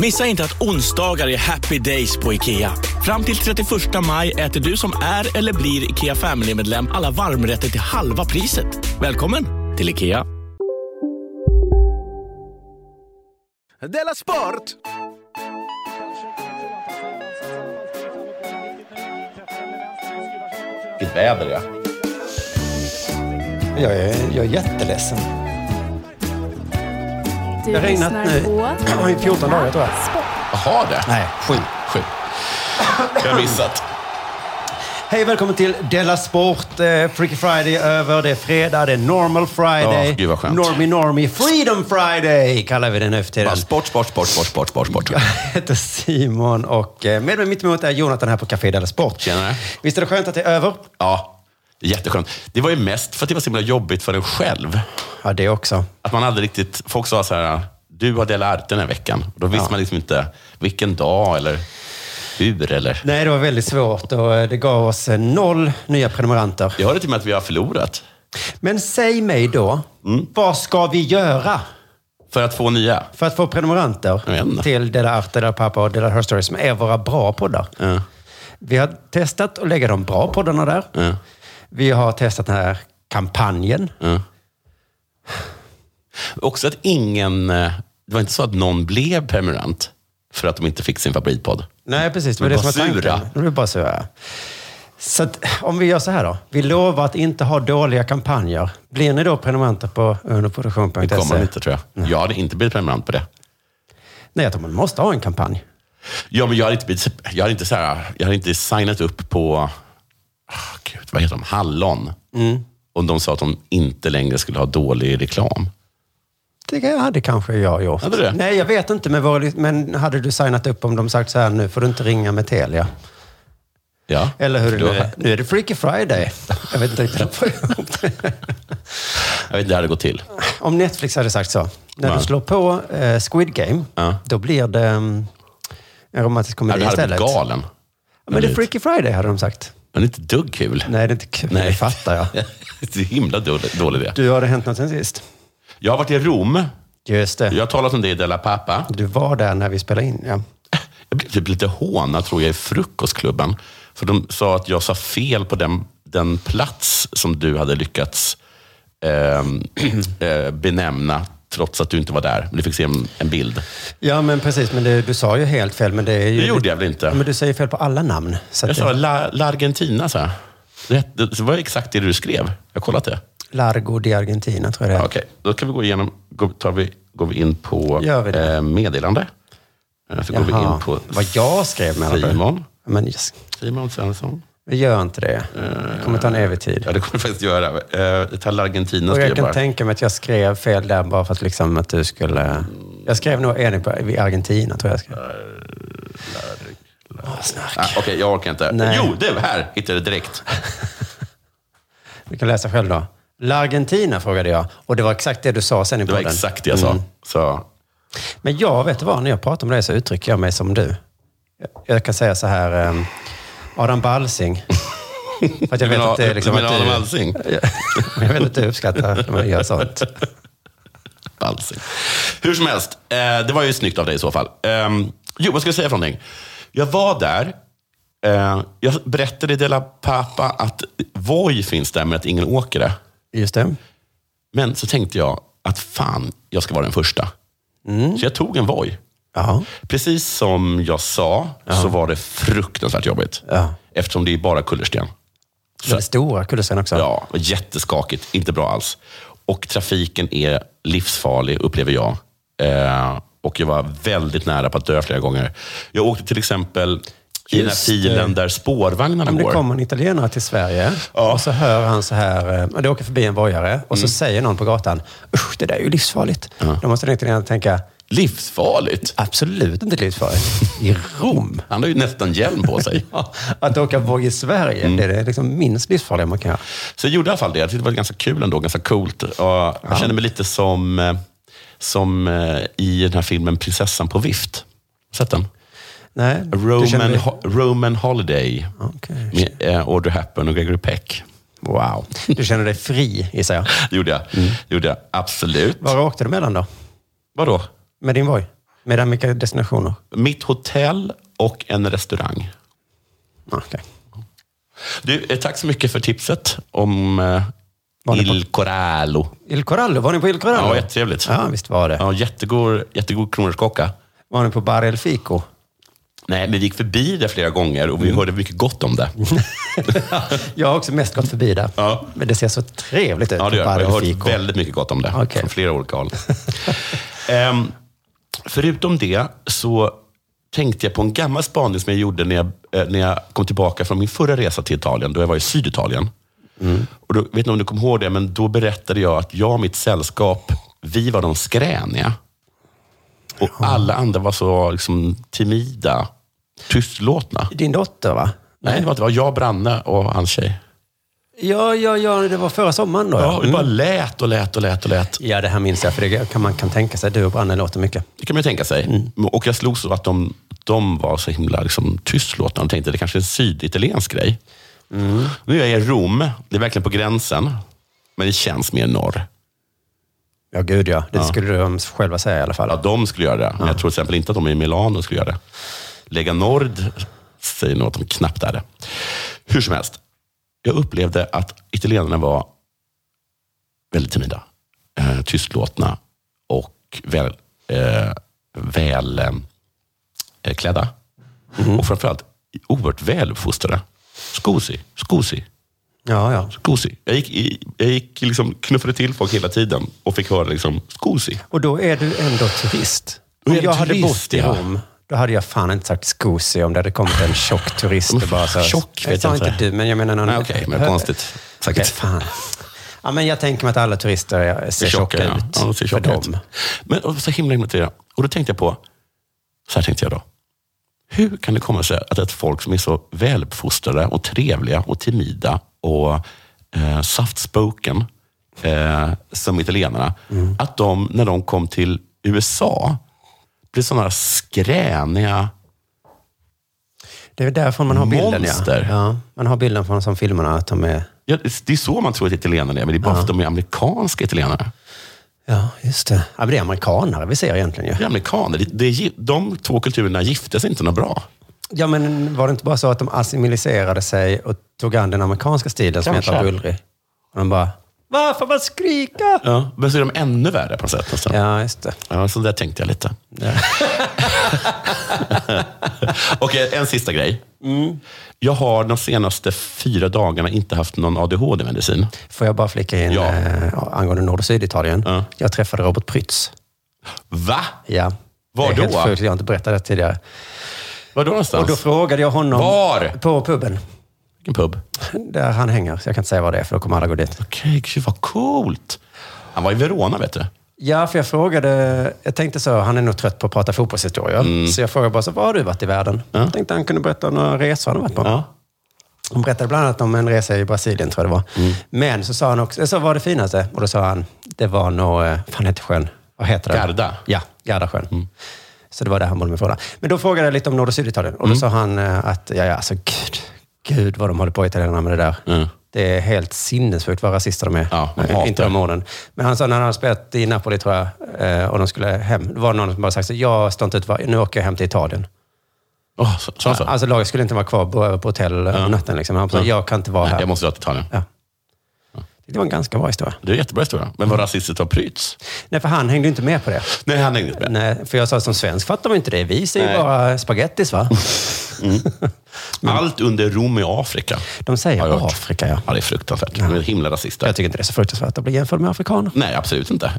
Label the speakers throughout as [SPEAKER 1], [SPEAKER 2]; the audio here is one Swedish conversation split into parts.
[SPEAKER 1] Missa inte att onsdagar är happy days på IKEA. Fram till 31 maj äter du som är eller blir IKEA Family-medlem alla varmrätter till halva priset. Välkommen till IKEA.
[SPEAKER 2] Della Sport!
[SPEAKER 3] Vilket väder ja.
[SPEAKER 4] Jag är, jag är jätteledsen.
[SPEAKER 5] Du
[SPEAKER 4] Det har regnat
[SPEAKER 5] lyssnar
[SPEAKER 4] nu
[SPEAKER 5] på
[SPEAKER 4] i 14 dagar tror jag.
[SPEAKER 3] Jaha det.
[SPEAKER 4] Nej, sju.
[SPEAKER 3] Sju. Jag har missat.
[SPEAKER 4] Hej, välkommen till Della Sport. Eh, Freaky Friday är över, det är fredag, det är Normal Friday.
[SPEAKER 3] Ja, gud vad skönt.
[SPEAKER 4] Normie Normie Freedom Friday kallar vi den nu för
[SPEAKER 3] Bara
[SPEAKER 4] tiden.
[SPEAKER 3] Sport, sport, sport, sport, sport, sport, sport.
[SPEAKER 4] Jag heter Simon och eh, med mig mitt emot är Jonathan här på Café Della Sport.
[SPEAKER 3] Tjenare.
[SPEAKER 4] Visst är det skönt att det är över?
[SPEAKER 3] Ja, jätteskönt. Det var ju mest för att det var så himla jobbigt för en själv.
[SPEAKER 4] Ja, det också.
[SPEAKER 3] Att man aldrig riktigt... Folk sa så här, du har delat art den här veckan. Och då visste
[SPEAKER 4] Ja.
[SPEAKER 3] man liksom inte vilken dag eller hur eller...
[SPEAKER 4] Nej, det var väldigt svårt och eh, det gav oss eh, noll nya prenumeranter.
[SPEAKER 3] Jag hörde till och med att vi har förlorat.
[SPEAKER 4] Men säg mig då,
[SPEAKER 3] Mm.
[SPEAKER 4] vad ska vi göra
[SPEAKER 3] För att få nya.
[SPEAKER 4] för att få prenumeranter
[SPEAKER 3] Jag vet inte.
[SPEAKER 4] till Della Art, Della Pappa och Della Her Story som är våra bra poddar?
[SPEAKER 3] Ja.
[SPEAKER 4] Vi har testat att lägga de bra poddarna där.
[SPEAKER 3] Ja.
[SPEAKER 4] Vi har testat den här kampanjen.
[SPEAKER 3] Ja. Också att ingen... eh, Det var inte så att någon blev prenumerant för att de inte fick sin favoritpodd.
[SPEAKER 4] Nej, precis. Det var
[SPEAKER 3] De
[SPEAKER 4] det som var
[SPEAKER 3] bara
[SPEAKER 4] tanken.
[SPEAKER 3] sura.
[SPEAKER 4] De blev bara sura. Så att, om vi gör så här då. Vi lovar att inte ha dåliga kampanjer. Blir ni då prenumeranter på underproduktion.se?
[SPEAKER 3] Det kommer de inte tror jag. Jag hade inte blivit prenumerant på det.
[SPEAKER 4] Nej, jag tror man måste ha en kampanj.
[SPEAKER 3] Ja, men jag hade inte, blivit, jag hade inte, så här, jag hade inte signat upp på, ah, gud, vad heter de, Hallon. Och de sa att de inte längre skulle ha dålig reklam.
[SPEAKER 4] Det hade kanske jag gjort.
[SPEAKER 3] Hade du det?
[SPEAKER 4] Nej, jag vet inte. Med våra, men hade du signat upp om de sagt så här, nu får du inte ringa med Telia?
[SPEAKER 3] Ja.
[SPEAKER 4] Eller hur?
[SPEAKER 3] Då-
[SPEAKER 4] Nu är det, nu är det Freaky Friday. Jag vet inte riktigt hur jag får ihop det.
[SPEAKER 3] Jag vet inte hur det hade gått till.
[SPEAKER 4] Om Netflix hade sagt så. När
[SPEAKER 3] Ja.
[SPEAKER 4] du slår på eh, Squid Game,
[SPEAKER 3] Ja.
[SPEAKER 4] då blir det mm, en romantisk
[SPEAKER 3] Jag
[SPEAKER 4] komedi
[SPEAKER 3] hade
[SPEAKER 4] istället.
[SPEAKER 3] blivit galen.
[SPEAKER 4] Men det är Freaky Friday, hade de sagt.
[SPEAKER 3] Men det är inte ett dugg kul.
[SPEAKER 4] Nej, det är inte kul. Det fattar jag.
[SPEAKER 3] det är en himla dålig, dålig idé.
[SPEAKER 4] Du, har det hänt något sen sist?
[SPEAKER 3] Jag har varit i Rom.
[SPEAKER 4] Just det.
[SPEAKER 3] Jag har talat om det i Della Pappa.
[SPEAKER 4] Du var där när vi spelade in, ja.
[SPEAKER 3] Jag blev typ lite hånad tror jag i frukostklubben. För de sa att jag sa fel på den, den plats som du hade lyckats ehm, eh, benämna trots att du inte var där. Men du fick se en, en bild.
[SPEAKER 4] Ja, men precis. Men det, du sa ju helt fel. Men det, är ju
[SPEAKER 3] Det gjorde jag väl
[SPEAKER 4] Ja,
[SPEAKER 3] inte?
[SPEAKER 4] Men du säger fel på alla namn. Så
[SPEAKER 3] Jag
[SPEAKER 4] att
[SPEAKER 3] sa
[SPEAKER 4] det,
[SPEAKER 3] La, La Argentina, så här. Rätt, det det var exakt det du skrev. Jag har kollat det.
[SPEAKER 4] Largo di Argentina, tror jag det
[SPEAKER 3] Ja,
[SPEAKER 4] är.
[SPEAKER 3] Okej, då kan vi gå igenom, går, tar vi, går vi in på
[SPEAKER 4] Gör vi det?
[SPEAKER 3] eh, meddelande. Eh, Så går vi
[SPEAKER 4] Jaha.
[SPEAKER 3] in på
[SPEAKER 4] Vad jag skrev med alla fall.
[SPEAKER 3] Simon.
[SPEAKER 4] Men yes.
[SPEAKER 3] Simon Svensson.
[SPEAKER 4] vi gör inte det. Det kommer ta en evig tid.
[SPEAKER 3] Eh, Ja, det kommer vi faktiskt göra. Eh, Jag tar La Argentina
[SPEAKER 4] Och
[SPEAKER 3] skrev
[SPEAKER 4] jag kan
[SPEAKER 3] bara.
[SPEAKER 4] tänka mig att jag skrev fel där bara för att, liksom att du skulle... Jag skrev nog en på i Argentina, tror jag. jag skrev. Åh,
[SPEAKER 3] Eh, Ah,
[SPEAKER 4] snark.
[SPEAKER 3] Okej, jag orkar inte.
[SPEAKER 4] Nej.
[SPEAKER 3] Jo, du, här hittade jag det direkt.
[SPEAKER 4] Du kan läsa själv då. La Argentina frågade jag och det var exakt det du sa sen i
[SPEAKER 3] Det var
[SPEAKER 4] podden.
[SPEAKER 3] exakt det jag sa.
[SPEAKER 4] Mm.
[SPEAKER 3] Så,
[SPEAKER 4] Men jag, vet du vad? När jag pratar om det så uttrycker jag mig som du. Jag, jag kan säga så här, ehm, Adam Balsing. För att jag
[SPEAKER 3] Du
[SPEAKER 4] vet
[SPEAKER 3] menar-
[SPEAKER 4] att det är liksom
[SPEAKER 3] du menar
[SPEAKER 4] att du,
[SPEAKER 3] Adam Alsing?
[SPEAKER 4] jag vet att du uppskattar när man gör sånt.
[SPEAKER 3] balsing. Hur som helst, eh, det var ju snyggt av dig i så fall. Ehm, jo, vad ska jag säga för någonting? Jag var där. Eh, jag berättade i Dela Pappa att Voi finns där, men att ingen åker det.
[SPEAKER 4] Just det.
[SPEAKER 3] Men så tänkte jag att fan, jag ska vara den första.
[SPEAKER 4] Mm.
[SPEAKER 3] Så jag tog en Voi.
[SPEAKER 4] Ja.
[SPEAKER 3] Precis som jag sa, så var det fruktansvärt jobbigt.
[SPEAKER 4] Ja.
[SPEAKER 3] Eftersom det är bara kullersten.
[SPEAKER 4] Väldigt stora kullersten också.
[SPEAKER 3] Ja, och jätteskakigt. Inte bra alls. Och trafiken är livsfarlig, upplever jag. Eh, Och jag var väldigt nära på att dö flera gånger. Jag åkte till exempel i den här
[SPEAKER 4] Just det.
[SPEAKER 3] filen där spårvagnarna
[SPEAKER 4] Om det
[SPEAKER 3] går.
[SPEAKER 4] kommer en italienare till Sverige och så hör han så här, eh, det åker förbi en vojare och så säger någon på gatan, usch det där är ju livsfarligt. Då måste den italienaren tänka,
[SPEAKER 3] Livsfarligt!
[SPEAKER 4] Ah. absolut inte livsfarligt. I Rom?
[SPEAKER 3] Han har ju nästan hjälm på sig.
[SPEAKER 4] Ja, att åka våg i Sverige, det är det liksom minst livsfarliga man kan göra.
[SPEAKER 3] Så jag gjorde i alla fall det. Jag tyckte det var ganska kul ändå, ganska coolt. Och jag kände mig lite som, eh, som eh, i den här filmen Prinsessan på vift. Sett den?
[SPEAKER 4] Nej, du känner
[SPEAKER 3] Roman,
[SPEAKER 4] dig-
[SPEAKER 3] Ho- Roman Holiday.
[SPEAKER 4] Okej.
[SPEAKER 3] Med eh, Audrey Hepburn och Gregory Peck.
[SPEAKER 4] Wow. Du känner dig fri, gissar jag.
[SPEAKER 3] Det gjorde jag.
[SPEAKER 4] Mm.
[SPEAKER 3] Det gjorde jag. Absolut.
[SPEAKER 4] Var åkte du mellan då?
[SPEAKER 3] Vadå?
[SPEAKER 4] Med din voj? Medan vilka destinationer?
[SPEAKER 3] Mitt hotell och en restaurang.
[SPEAKER 4] Ah, okej.
[SPEAKER 3] Du, eh, tack så mycket för tipset om eh,
[SPEAKER 4] Var ni på-
[SPEAKER 3] Il Corallo.
[SPEAKER 4] Il Corallo, var ni på Il Corallo?
[SPEAKER 3] Ja, jättetrevligt.
[SPEAKER 4] Ja, visst var det.
[SPEAKER 3] Ja, jättegod, jättegod kronärtskocka.
[SPEAKER 4] Var ni på Bar El Fico?
[SPEAKER 3] Nej, men vi gick förbi det flera gånger
[SPEAKER 4] Mm.
[SPEAKER 3] och vi hörde mycket gott om det.
[SPEAKER 4] Jag har också mest gått förbi där.
[SPEAKER 3] Ja.
[SPEAKER 4] Men det ser så trevligt ut.
[SPEAKER 3] Ja, det gör
[SPEAKER 4] på
[SPEAKER 3] jag. Jag
[SPEAKER 4] Bar El
[SPEAKER 3] har hört
[SPEAKER 4] Fico.
[SPEAKER 3] väldigt mycket gott om det.
[SPEAKER 4] Okej.
[SPEAKER 3] Från flera olika håll. Ehm, förutom det så tänkte jag på en gammal spaning som jag gjorde när jag, eh, när jag kom tillbaka från min förra resa till Italien, då jag var i Syditalien.
[SPEAKER 4] Mm.
[SPEAKER 3] Och då, vet inte om du kommer ihåg det, men då berättade jag att jag och mitt sällskap, vi var de skräniga. Och alla andra var så liksom, timida, tystlåtna.
[SPEAKER 4] Din dotter, va?
[SPEAKER 3] Nej, det var inte. Det var jag, Branne och hans tjej.
[SPEAKER 4] Ja, ja, ja, det var förra sommaren då.
[SPEAKER 3] Ja, vi bara
[SPEAKER 4] Mm.
[SPEAKER 3] lät och lät och lät och lät.
[SPEAKER 4] ja det här minns jag, för det kan man kan tänka sig. Du och Branne låter mycket.
[SPEAKER 3] Det kan man ju tänka sig. Och jag slog så att de, de var så himla liksom, tystlåtna. De tänkte det kanske är en syditaliensk grej. Nu är jag i Rom. Det är verkligen på gränsen. Men det känns mer norr.
[SPEAKER 4] Ja, gud ja. Det skulle de själva säga i alla fall.
[SPEAKER 3] Ja, de skulle göra det. Men jag tror till exempel inte att de i Milano skulle göra det. Lega Nord säger nog att de knappt är det. Hur som helst. Jag upplevde att italienarna var väldigt timida, eh, tystlåtna och väl, eh, väl eh, klädda. Och framförallt oerhört väluppfostrade. Skosi, skosi,
[SPEAKER 4] Ja, ja.
[SPEAKER 3] skosi. Jag gick, i- jag gick liksom knuffade till folk hela tiden och fick höra liksom, skosi.
[SPEAKER 4] Och då är du ändå turist.
[SPEAKER 3] Då är
[SPEAKER 4] Om
[SPEAKER 3] jag
[SPEAKER 4] jag hade
[SPEAKER 3] turist,
[SPEAKER 4] bott i
[SPEAKER 3] ja.
[SPEAKER 4] Rom, då hade jag fan inte sagt skosi om det hade kommit en tjock turist och bara så.
[SPEAKER 3] Tjock vet
[SPEAKER 4] sa
[SPEAKER 3] jag
[SPEAKER 4] inte
[SPEAKER 3] inte.
[SPEAKER 4] du, men jag menar någon...
[SPEAKER 3] Nej, okej, men konstigt.
[SPEAKER 4] Okej,
[SPEAKER 3] Säkert.
[SPEAKER 4] fan. Ja, men jag tänker mig att alla turister är- ser tjocka
[SPEAKER 3] ja.
[SPEAKER 4] ut.
[SPEAKER 3] Ja, de ser
[SPEAKER 4] för
[SPEAKER 3] tjocka ut.
[SPEAKER 4] dem.
[SPEAKER 3] Men och så himla himla trevliga. Och då tänkte jag på, så här tänkte jag då. Hur kan det komma sig att ett folk som är så väluppfostrade och trevliga och timida och eh, softspoken eh, som italienarna, att de när de kom till USA blev sådana skräniga...
[SPEAKER 4] Det är därför man har bilden, ja.
[SPEAKER 3] Monster.
[SPEAKER 4] ja. Man har bilden från som filmerna, att de är...
[SPEAKER 3] Ja, det det är så man tror att italienarna är, men det är bara för att de är amerikanska italienare.
[SPEAKER 4] Ja, just det. Ja, men det är amerikanare vi ser egentligen
[SPEAKER 3] Det
[SPEAKER 4] ju.
[SPEAKER 3] är amerikaner. Det, det, är gi- de två kulturerna gifte sig inte något bra.
[SPEAKER 4] Ja, men var det inte bara så att de assimiliserade sig och tog an den amerikanska stilen som
[SPEAKER 3] Kanske.
[SPEAKER 4] heter bullrig? Och de bara, varför man skrika?
[SPEAKER 3] Ja. Men så är de ännu värre på något sätt. Nästan.
[SPEAKER 4] Ja, just det.
[SPEAKER 3] Ja, så där tänkte jag lite. Okej, en sista grej. Mm. Jag har de senaste fyra dagarna inte haft någon ADHD-medicin.
[SPEAKER 4] Får jag bara flicka in
[SPEAKER 3] Ja.
[SPEAKER 4] eh, angående Nord och Syditalien?
[SPEAKER 3] Ja.
[SPEAKER 4] Jag träffade Robert Prytz.
[SPEAKER 3] Va?
[SPEAKER 4] Ja.
[SPEAKER 3] Var
[SPEAKER 4] det är
[SPEAKER 3] då?
[SPEAKER 4] Helt sjukt, jag har inte berättat det tidigare.
[SPEAKER 3] Var då
[SPEAKER 4] Och
[SPEAKER 3] någonstans?
[SPEAKER 4] då frågade jag honom...
[SPEAKER 3] Var?
[SPEAKER 4] På puben.
[SPEAKER 3] Vilken pub?
[SPEAKER 4] Där han hänger. Så jag kan inte säga vad det är, för då kommer alla gå dit.
[SPEAKER 3] Okej, gud vad coolt. Han var i Verona, vet du.
[SPEAKER 4] Ja, för jag frågade... Jag tänkte så, han är nog trött på att prata fotbollshistorier.
[SPEAKER 3] Mm.
[SPEAKER 4] Så jag frågade bara, så, var har du varit i världen? Jag tänkte han kunde berätta om några resor han har varit på.
[SPEAKER 3] Ja.
[SPEAKER 4] Han berättade bland annat om en resa i Brasilien, tror jag det var.
[SPEAKER 3] Mm.
[SPEAKER 4] Men så sa han också, så var det finaste? Och då sa han, det var nog, eh, fan heter sjön? Vad heter den?
[SPEAKER 3] Garda. Mm.
[SPEAKER 4] Ja, Gardasjön. Så det var det han bollade med frågan. Men då frågade jag lite om Nord och Syditalien.
[SPEAKER 3] Mm.
[SPEAKER 4] Och då sa han eh, att, ja, ja, alltså gud, gud vad de håller på i italienarna med det där.
[SPEAKER 3] Mm.
[SPEAKER 4] Det är helt sinnessjukt vad rasister de är.
[SPEAKER 3] Ja, de
[SPEAKER 4] Nej,
[SPEAKER 3] hatar.
[SPEAKER 4] inte de orden. Men han sa när han hade spelat i Napoli, tror jag, eh, och de skulle hem, då var det någon som bara sagt så, jag står inte ut, va? nu åker jag hem till Italien.
[SPEAKER 3] Åh, så, så, så.
[SPEAKER 4] Alltså laget skulle inte vara kvar på, på hotell om natten. Liksom. Han sa,
[SPEAKER 3] Ja.
[SPEAKER 4] jag kan inte vara här.
[SPEAKER 3] Jag måste dra till Italien.
[SPEAKER 4] Ja. Det var en ganska bra historia.
[SPEAKER 3] Det är en jättebra historia. Men vad rasistiskt av Prytz.
[SPEAKER 4] Nej, för han hängde ju inte med på det.
[SPEAKER 3] Nej, han hängde inte med.
[SPEAKER 4] Nej, för jag sa som svensk fattar man inte det. Vi säger
[SPEAKER 3] Nej.
[SPEAKER 4] ju bara spagettis, va?
[SPEAKER 3] Allt under Rom i Afrika.
[SPEAKER 4] De säger
[SPEAKER 3] Har jag hört.
[SPEAKER 4] Afrika, ja.
[SPEAKER 3] Ja, det är fruktansvärt. De är himla rasister.
[SPEAKER 4] Jag tycker inte det är så fruktansvärt att bli jämförd med afrikaner.
[SPEAKER 3] Nej, absolut inte.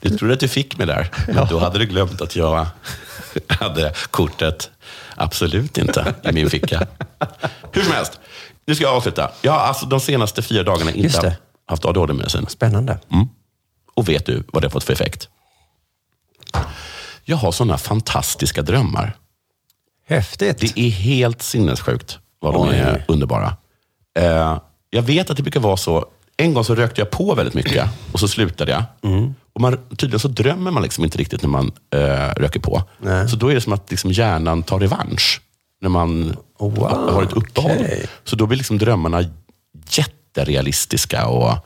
[SPEAKER 3] Du trodde att du fick mig där, men då hade du glömt att jag hade kortet absolut inte i min ficka. Hur som helst, nu ska jag avsluta. Jag har alltså de senaste fyra dagarna
[SPEAKER 4] Just
[SPEAKER 3] inte
[SPEAKER 4] det.
[SPEAKER 3] haft ADHD-medicin.
[SPEAKER 4] Spännande.
[SPEAKER 3] Mm. Och vet du vad det har fått för effekt? Jag har sådana fantastiska drömmar.
[SPEAKER 4] Häftigt.
[SPEAKER 3] Det är helt sinnessjukt vad de
[SPEAKER 4] Oj.
[SPEAKER 3] är underbara. Eh, jag vet att det brukar vara så. En gång så rökte jag på väldigt mycket och så slutade jag.
[SPEAKER 4] Mm.
[SPEAKER 3] Och man, tydligen så drömmer man liksom inte riktigt när man eh, röker på.
[SPEAKER 4] Nej.
[SPEAKER 3] Så då är det som att liksom hjärnan tar revansch när man
[SPEAKER 4] Oh, wow.
[SPEAKER 3] har ett uppehåll.
[SPEAKER 4] Okej.
[SPEAKER 3] Så då blir liksom drömmarna jätterealistiska och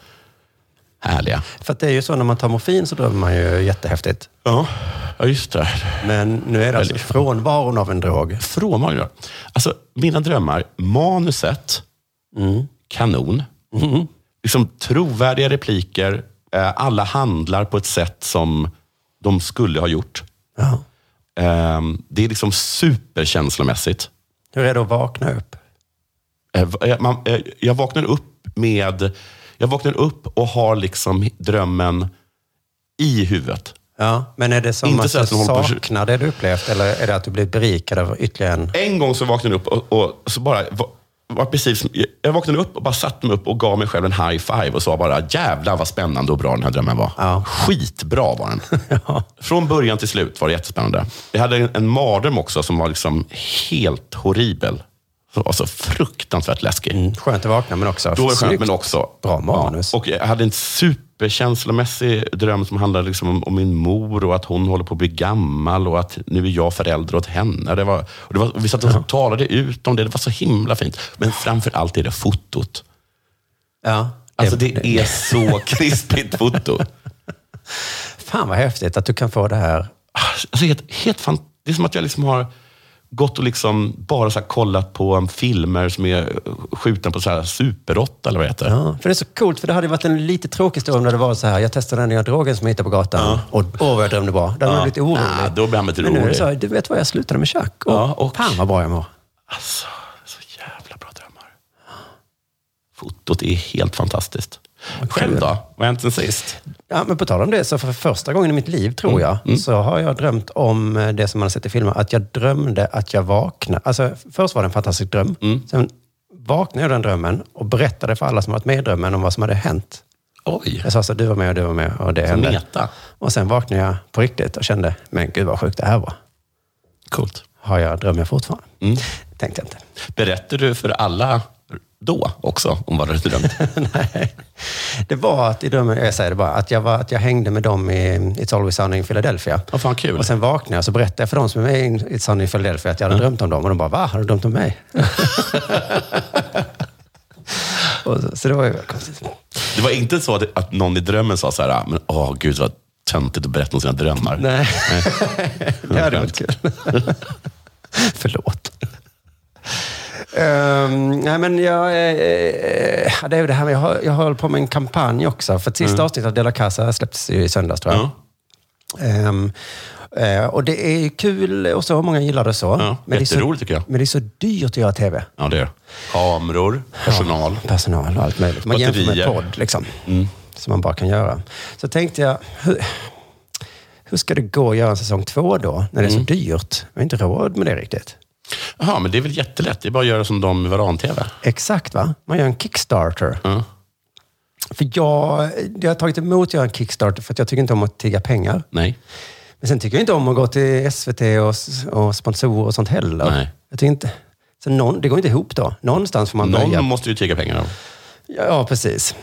[SPEAKER 3] härliga.
[SPEAKER 4] För att det är ju så när man tar morfin så drömmer man ju jättehäftigt.
[SPEAKER 3] Ja, ja just det.
[SPEAKER 4] Men nu är det alltså
[SPEAKER 3] Väldigt.
[SPEAKER 4] frånvaron av en drog.
[SPEAKER 3] Frånvaro. ja. Alltså, mina drömmar, manuset, kanon. Liksom trovärdiga repliker, eh, alla handlar på ett sätt som de skulle ha gjort.
[SPEAKER 4] Ja.
[SPEAKER 3] Eh, Det är liksom superkänslomässigt.
[SPEAKER 4] Hur är det att vakna upp?
[SPEAKER 3] Eh, va- eh, man- eh, Jag vaknar upp med... Jag vaknar upp och har liksom drömmen i huvudet.
[SPEAKER 4] Ja, men är det som
[SPEAKER 3] Inte
[SPEAKER 4] att
[SPEAKER 3] så att
[SPEAKER 4] du
[SPEAKER 3] man håller på-
[SPEAKER 4] saknar det du upplevt eller är det att du blir berikad av ytterligare en...
[SPEAKER 3] En gång så vaknade jag upp och, och så bara... va- Var precis, som- jag vaknade upp och bara satte mig upp och gav mig själv en high five och sa bara jävlar vad spännande och bra den här drömmen var.
[SPEAKER 4] Ja.
[SPEAKER 3] Skitbra var den. Från början till slut var det jättespännande. Jag hade en, en mardröm också som var liksom helt horribel. Som var så fruktansvärt läskig.
[SPEAKER 4] Skönt att vakna men också
[SPEAKER 3] Då var det skönt,
[SPEAKER 4] Mm. snyggt.
[SPEAKER 3] men också...
[SPEAKER 4] Bra manus.
[SPEAKER 3] Ja, och jag hade en superkänslomässig dröm som handlade liksom om, om min mor och att hon håller på att bli gammal och att nu är jag förälder åt henne. Det var, och det var, vi satt och talade ut om det. Det var så himla fint. Men framför allt är det fotot.
[SPEAKER 4] Ja, det,
[SPEAKER 3] Alltså det är så krispigt foto.
[SPEAKER 4] Fan vad häftigt att du kan få det här.
[SPEAKER 3] Alltså helt, helt fan, det är som att jag liksom har gått och liksom bara så här kollat på um, filmer som är skjutna på så här Super 8 eller vad det heter.
[SPEAKER 4] Ja, för det är så coolt, för det hade ju varit en lite tråkig historia om det hade varit så här. Jag testade den nya drogen som jag hittade på gatan och åh vad jag drömde bra. Då hade man blivit orolig.
[SPEAKER 3] Ah, då blir man lite
[SPEAKER 4] men nu är det
[SPEAKER 3] orolig.
[SPEAKER 4] så här, du vet vad, jag slutade med kök. Och,
[SPEAKER 3] Ja, och-
[SPEAKER 4] Fan vad bra jag mår.
[SPEAKER 3] Alltså, så jävla bra drömmar. Fotot är helt fantastiskt. Själv då? Vad har hänt sen sist?
[SPEAKER 4] Ja, men på tal om det, så för första gången i mitt liv, tror jag, så har jag drömt om eh, det som man har sett i filmer, att jag drömde att jag vaknade. Alltså, först var det en fantastisk dröm. Sen vaknade jag ur den drömmen och berättade för alla som varit med i drömmen om vad som hade hänt.
[SPEAKER 3] Oj,
[SPEAKER 4] Jag sa så här, du var med och du var med och det
[SPEAKER 3] en
[SPEAKER 4] hände.
[SPEAKER 3] meta.
[SPEAKER 4] Och sen vaknade jag på riktigt och kände, men gud vad sjukt det här var.
[SPEAKER 3] Coolt.
[SPEAKER 4] Har jag drömmer fortfarande? Tänkte jag inte.
[SPEAKER 3] Berättar du för alla då också om vad du hade drömt?
[SPEAKER 4] Nej. Det var att i drömmen, jag säger det bara, att jag, var, att jag hängde med dem i It's Always Sunny i Philadelphia.
[SPEAKER 3] Vad fan kul.
[SPEAKER 4] Och sen vaknade jag och så berättade jag för dem som är med i It's Sunny i Philadelphia att jag hade drömt om dem. Och de bara, va? Har du drömt om mig? och så, så det var ju konstigt.
[SPEAKER 3] Det var inte så att- att någon i drömmen sa så här, "Ah, men åh gud vad töntigt att berätta om sina drömmar.
[SPEAKER 4] Nej, det hade
[SPEAKER 3] skönt.
[SPEAKER 4] varit kul. Förlåt. Ehm, nej, men jag, eh, eh, det är ju det här med, jag, har- jag håller på med en kampanj också. För ett
[SPEAKER 3] Mm.
[SPEAKER 4] sista avsnitt av Della Casa släpptes ju i söndags tror jag.
[SPEAKER 3] Ja.
[SPEAKER 4] Ehm, eh, och det är ju kul och så, många gillar det så.
[SPEAKER 3] Ja,
[SPEAKER 4] det är så,
[SPEAKER 3] jätteroligt tycker jag.
[SPEAKER 4] men det är så dyrt att göra tv.
[SPEAKER 3] Ja, det är det. Kameror, personal.
[SPEAKER 4] Personal och allt möjligt. Man jämför med
[SPEAKER 3] Batterier. Mm.
[SPEAKER 4] podd liksom. Som man bara kan göra. Så tänkte jag, hur, hur ska det gå att göra en säsong två då? När det
[SPEAKER 3] Mm.
[SPEAKER 4] är så dyrt. Vi har inte råd med det riktigt.
[SPEAKER 3] Jaha, men det är väl jättelätt. Det är bara att göra som de i Varan-TV.
[SPEAKER 4] Exakt va? Man gör en Kickstarter.
[SPEAKER 3] Ja.
[SPEAKER 4] För jag, jag har tagit emot att göra en Kickstarter för att jag tycker inte om att tigga pengar.
[SPEAKER 3] Nej.
[SPEAKER 4] Men sen tycker jag inte om att gå till SVT och, s- och sponsorer och sånt heller.
[SPEAKER 3] Nej.
[SPEAKER 4] Jag tycker inte... Så någon, det går inte ihop då. Någonstans får man börja.
[SPEAKER 3] Någon måste ju tigga pengar av.
[SPEAKER 4] Ja, precis.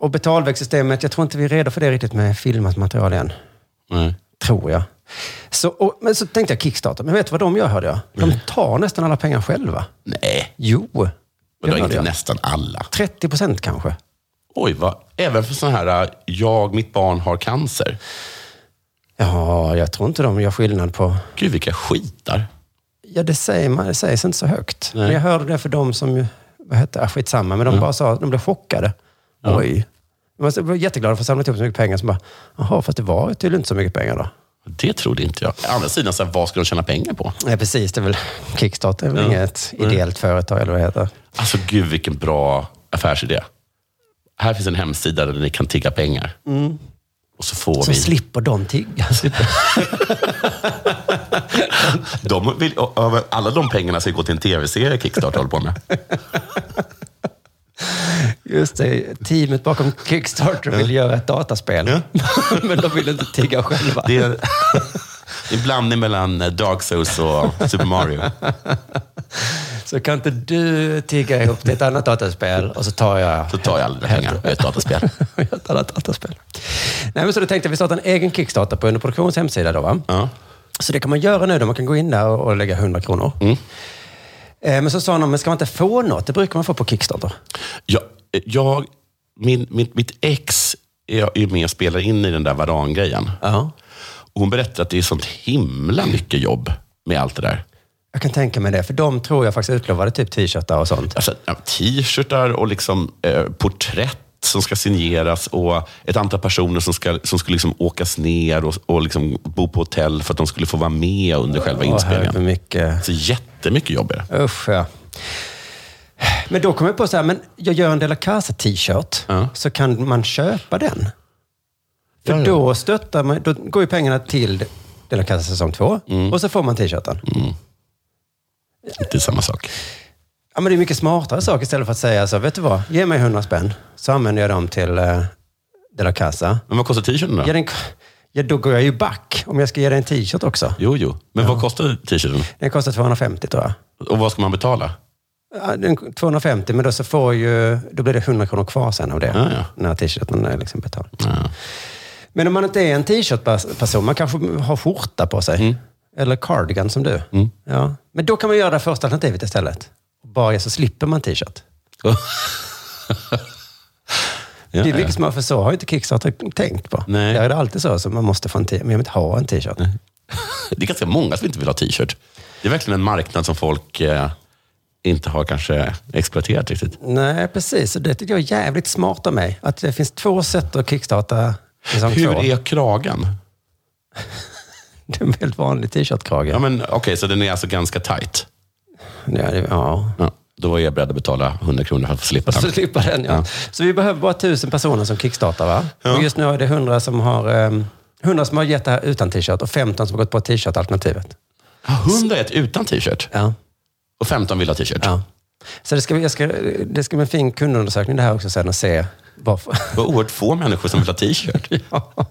[SPEAKER 4] Och betalvägssystemet, jag tror inte vi är redo för det riktigt med filmat material än.
[SPEAKER 3] Nej.
[SPEAKER 4] Tror jag. Så, och, men så tänkte jag Kickstarter, men vet du vad de gör hörde jag? De tar nästan alla pengar själva.
[SPEAKER 3] Nej,
[SPEAKER 4] Jo.
[SPEAKER 3] Mm. men då
[SPEAKER 4] det
[SPEAKER 3] är
[SPEAKER 4] hörde
[SPEAKER 3] inte
[SPEAKER 4] jag.
[SPEAKER 3] nästan alla.
[SPEAKER 4] 30 procent kanske.
[SPEAKER 3] Oj, vad, även för sådana här, äh, jag, mitt barn har cancer.
[SPEAKER 4] Ja, jag tror inte de gör skillnad på...
[SPEAKER 3] Gud, vilka skitar.
[SPEAKER 4] Ja, det, säger man, det sägs inte så högt. Men jag hörde det för de som... ju- Vad hette ah, Skitsamma, men de
[SPEAKER 3] Mm.
[SPEAKER 4] bara sa att de blev chockade. Oj. De var jätteglada för att samla ihop så mycket pengar. Som bara, jaha, fast det var tydligen inte så mycket pengar då.
[SPEAKER 3] Det trodde inte jag. Å andra sidan, så här, vad ska de tjäna pengar på?
[SPEAKER 4] Nej, precis. Det är väl Kickstarter är väl inget ideellt företag eller vad det heter.
[SPEAKER 3] Alltså, gud vilken bra affärsidé. Här finns en hemsida där ni kan tigga pengar. Och så får
[SPEAKER 4] Mm. Så
[SPEAKER 3] vi...
[SPEAKER 4] slipper de tigga.
[SPEAKER 3] De vill, och- och alla de pengarna ska gå till en tv-serie Kickstart håller på med.
[SPEAKER 4] Just det, teamet bakom Kickstarter vill göra ett dataspel. Men de vill inte tigga själva.
[SPEAKER 3] Det är, det är en blandning mellan eh, Dark Souls och Super Mario.
[SPEAKER 4] Så kan inte du tigga ihop till ett annat dataspel och så tar jag...
[SPEAKER 3] Så tar jag alla dina pengar och ett dataspel.
[SPEAKER 4] ett annat dataspel. Nej, men så då tänkte jag att vi startar en egen Kickstarter på Underproduktions hemsida. Då, va?
[SPEAKER 3] Ja.
[SPEAKER 4] Så det kan man göra nu. Då. Man kan gå in där och och lägga 100 kronor.
[SPEAKER 3] Mm.
[SPEAKER 4] Eh, Men så sa någon, men ska man inte få något? Det brukar man få på Kickstarter.
[SPEAKER 3] Jag, jag, min, min, mitt ex är är med och spelar in i den där Varan-grejen.
[SPEAKER 4] Ja.
[SPEAKER 3] Och Hon berättade att det är sånt himla mycket jobb med allt det där.
[SPEAKER 4] Jag kan tänka mig det, för de tror jag faktiskt utlovade typ t-shirtar och sånt.
[SPEAKER 3] Alltså, ja, t-shirtar och liksom, eh, porträtt som ska signeras och ett antal personer som, ska, som skulle liksom åkas ner och, och liksom bo på hotell för att de skulle få vara med under själva
[SPEAKER 4] Åh, herregud,
[SPEAKER 3] inspelningen.
[SPEAKER 4] mycket.
[SPEAKER 3] Så jättemycket jobb är det.
[SPEAKER 4] Usch, ja. Men då kom jag på så här, men jag gör en De La Casa t-shirt,
[SPEAKER 3] Ja.
[SPEAKER 4] så kan man köpa den? För
[SPEAKER 3] Ja, ja.
[SPEAKER 4] då stöttar man, då går ju pengarna till De La Casa säsong två och så får man t-shirten.
[SPEAKER 3] Inte samma sak.
[SPEAKER 4] Ja, men det är mycket smartare sak istället för att säga så, vet du vad, ge mig 100 spänn, så använder jag dem till eh, De La Casa.
[SPEAKER 3] Men vad kostar t-shirten då?
[SPEAKER 4] Ja. Den, ja, då går jag ju back om jag ska ge dig en t-shirt också.
[SPEAKER 3] Jo, jo. Men vad kostar t-shirten?
[SPEAKER 4] Den kostar 250 tror jag.
[SPEAKER 3] Och vad ska man betala?
[SPEAKER 4] Ja, den- 250, men då, så får ju, då blir det 100 kronor kvar sen av det.
[SPEAKER 3] Ja, ja.
[SPEAKER 4] När t-shirten är liksom betald. Men om man inte är en t-shirt-person, man kanske har skjorta på sig.
[SPEAKER 3] Mm.
[SPEAKER 4] Eller cardigan som du. Ja. Men då kan man göra det första alternativet istället. Bara så slipper man t-shirt.
[SPEAKER 3] Ja,
[SPEAKER 4] det är mycket
[SPEAKER 3] ja.
[SPEAKER 4] smartare, för så har ju inte Kickstarter tänkt på.
[SPEAKER 3] Nej.
[SPEAKER 4] Där är det alltid så, så man måste få en t-shirt. Men jag vill inte ha en t-shirt.
[SPEAKER 3] det är ganska många som inte vill ha t-shirt. Det är verkligen en marknad som folk eh, inte har kanske exploaterat riktigt.
[SPEAKER 4] Nej, precis. Och det tycker jag är jävligt smart av mig. Att det finns två sätt att kickstarta säsong två.
[SPEAKER 3] Hur är kragen?
[SPEAKER 4] Det är en väldigt vanlig t-shirt-krage.
[SPEAKER 3] Ja,
[SPEAKER 4] Ja,
[SPEAKER 3] men Okej, så den är alltså ganska tight.
[SPEAKER 4] det- ja.
[SPEAKER 3] Ja, då är jag beredd att betala 100 kronor för att få slippa
[SPEAKER 4] Så
[SPEAKER 3] den.
[SPEAKER 4] slippa den, ja.
[SPEAKER 3] Ja.
[SPEAKER 4] Så vi behöver bara tusen personer som kickstartar, va? Och just nu är det hundra som har... ehm, 100 som har gett det här utan t-shirt och 15 som har gått på t-shirt-alternativet.
[SPEAKER 3] Ja, 100 Ah, är ett utan t-shirt
[SPEAKER 4] Ja.
[SPEAKER 3] och 15 vill ha t-shirt.
[SPEAKER 4] ja. Så det ska, vi- jag ska, det ska bli en fin kundundersökning det här också sen och se varför.
[SPEAKER 3] Det var oerhört få människor som vill ha t-shirt.
[SPEAKER 4] Ja.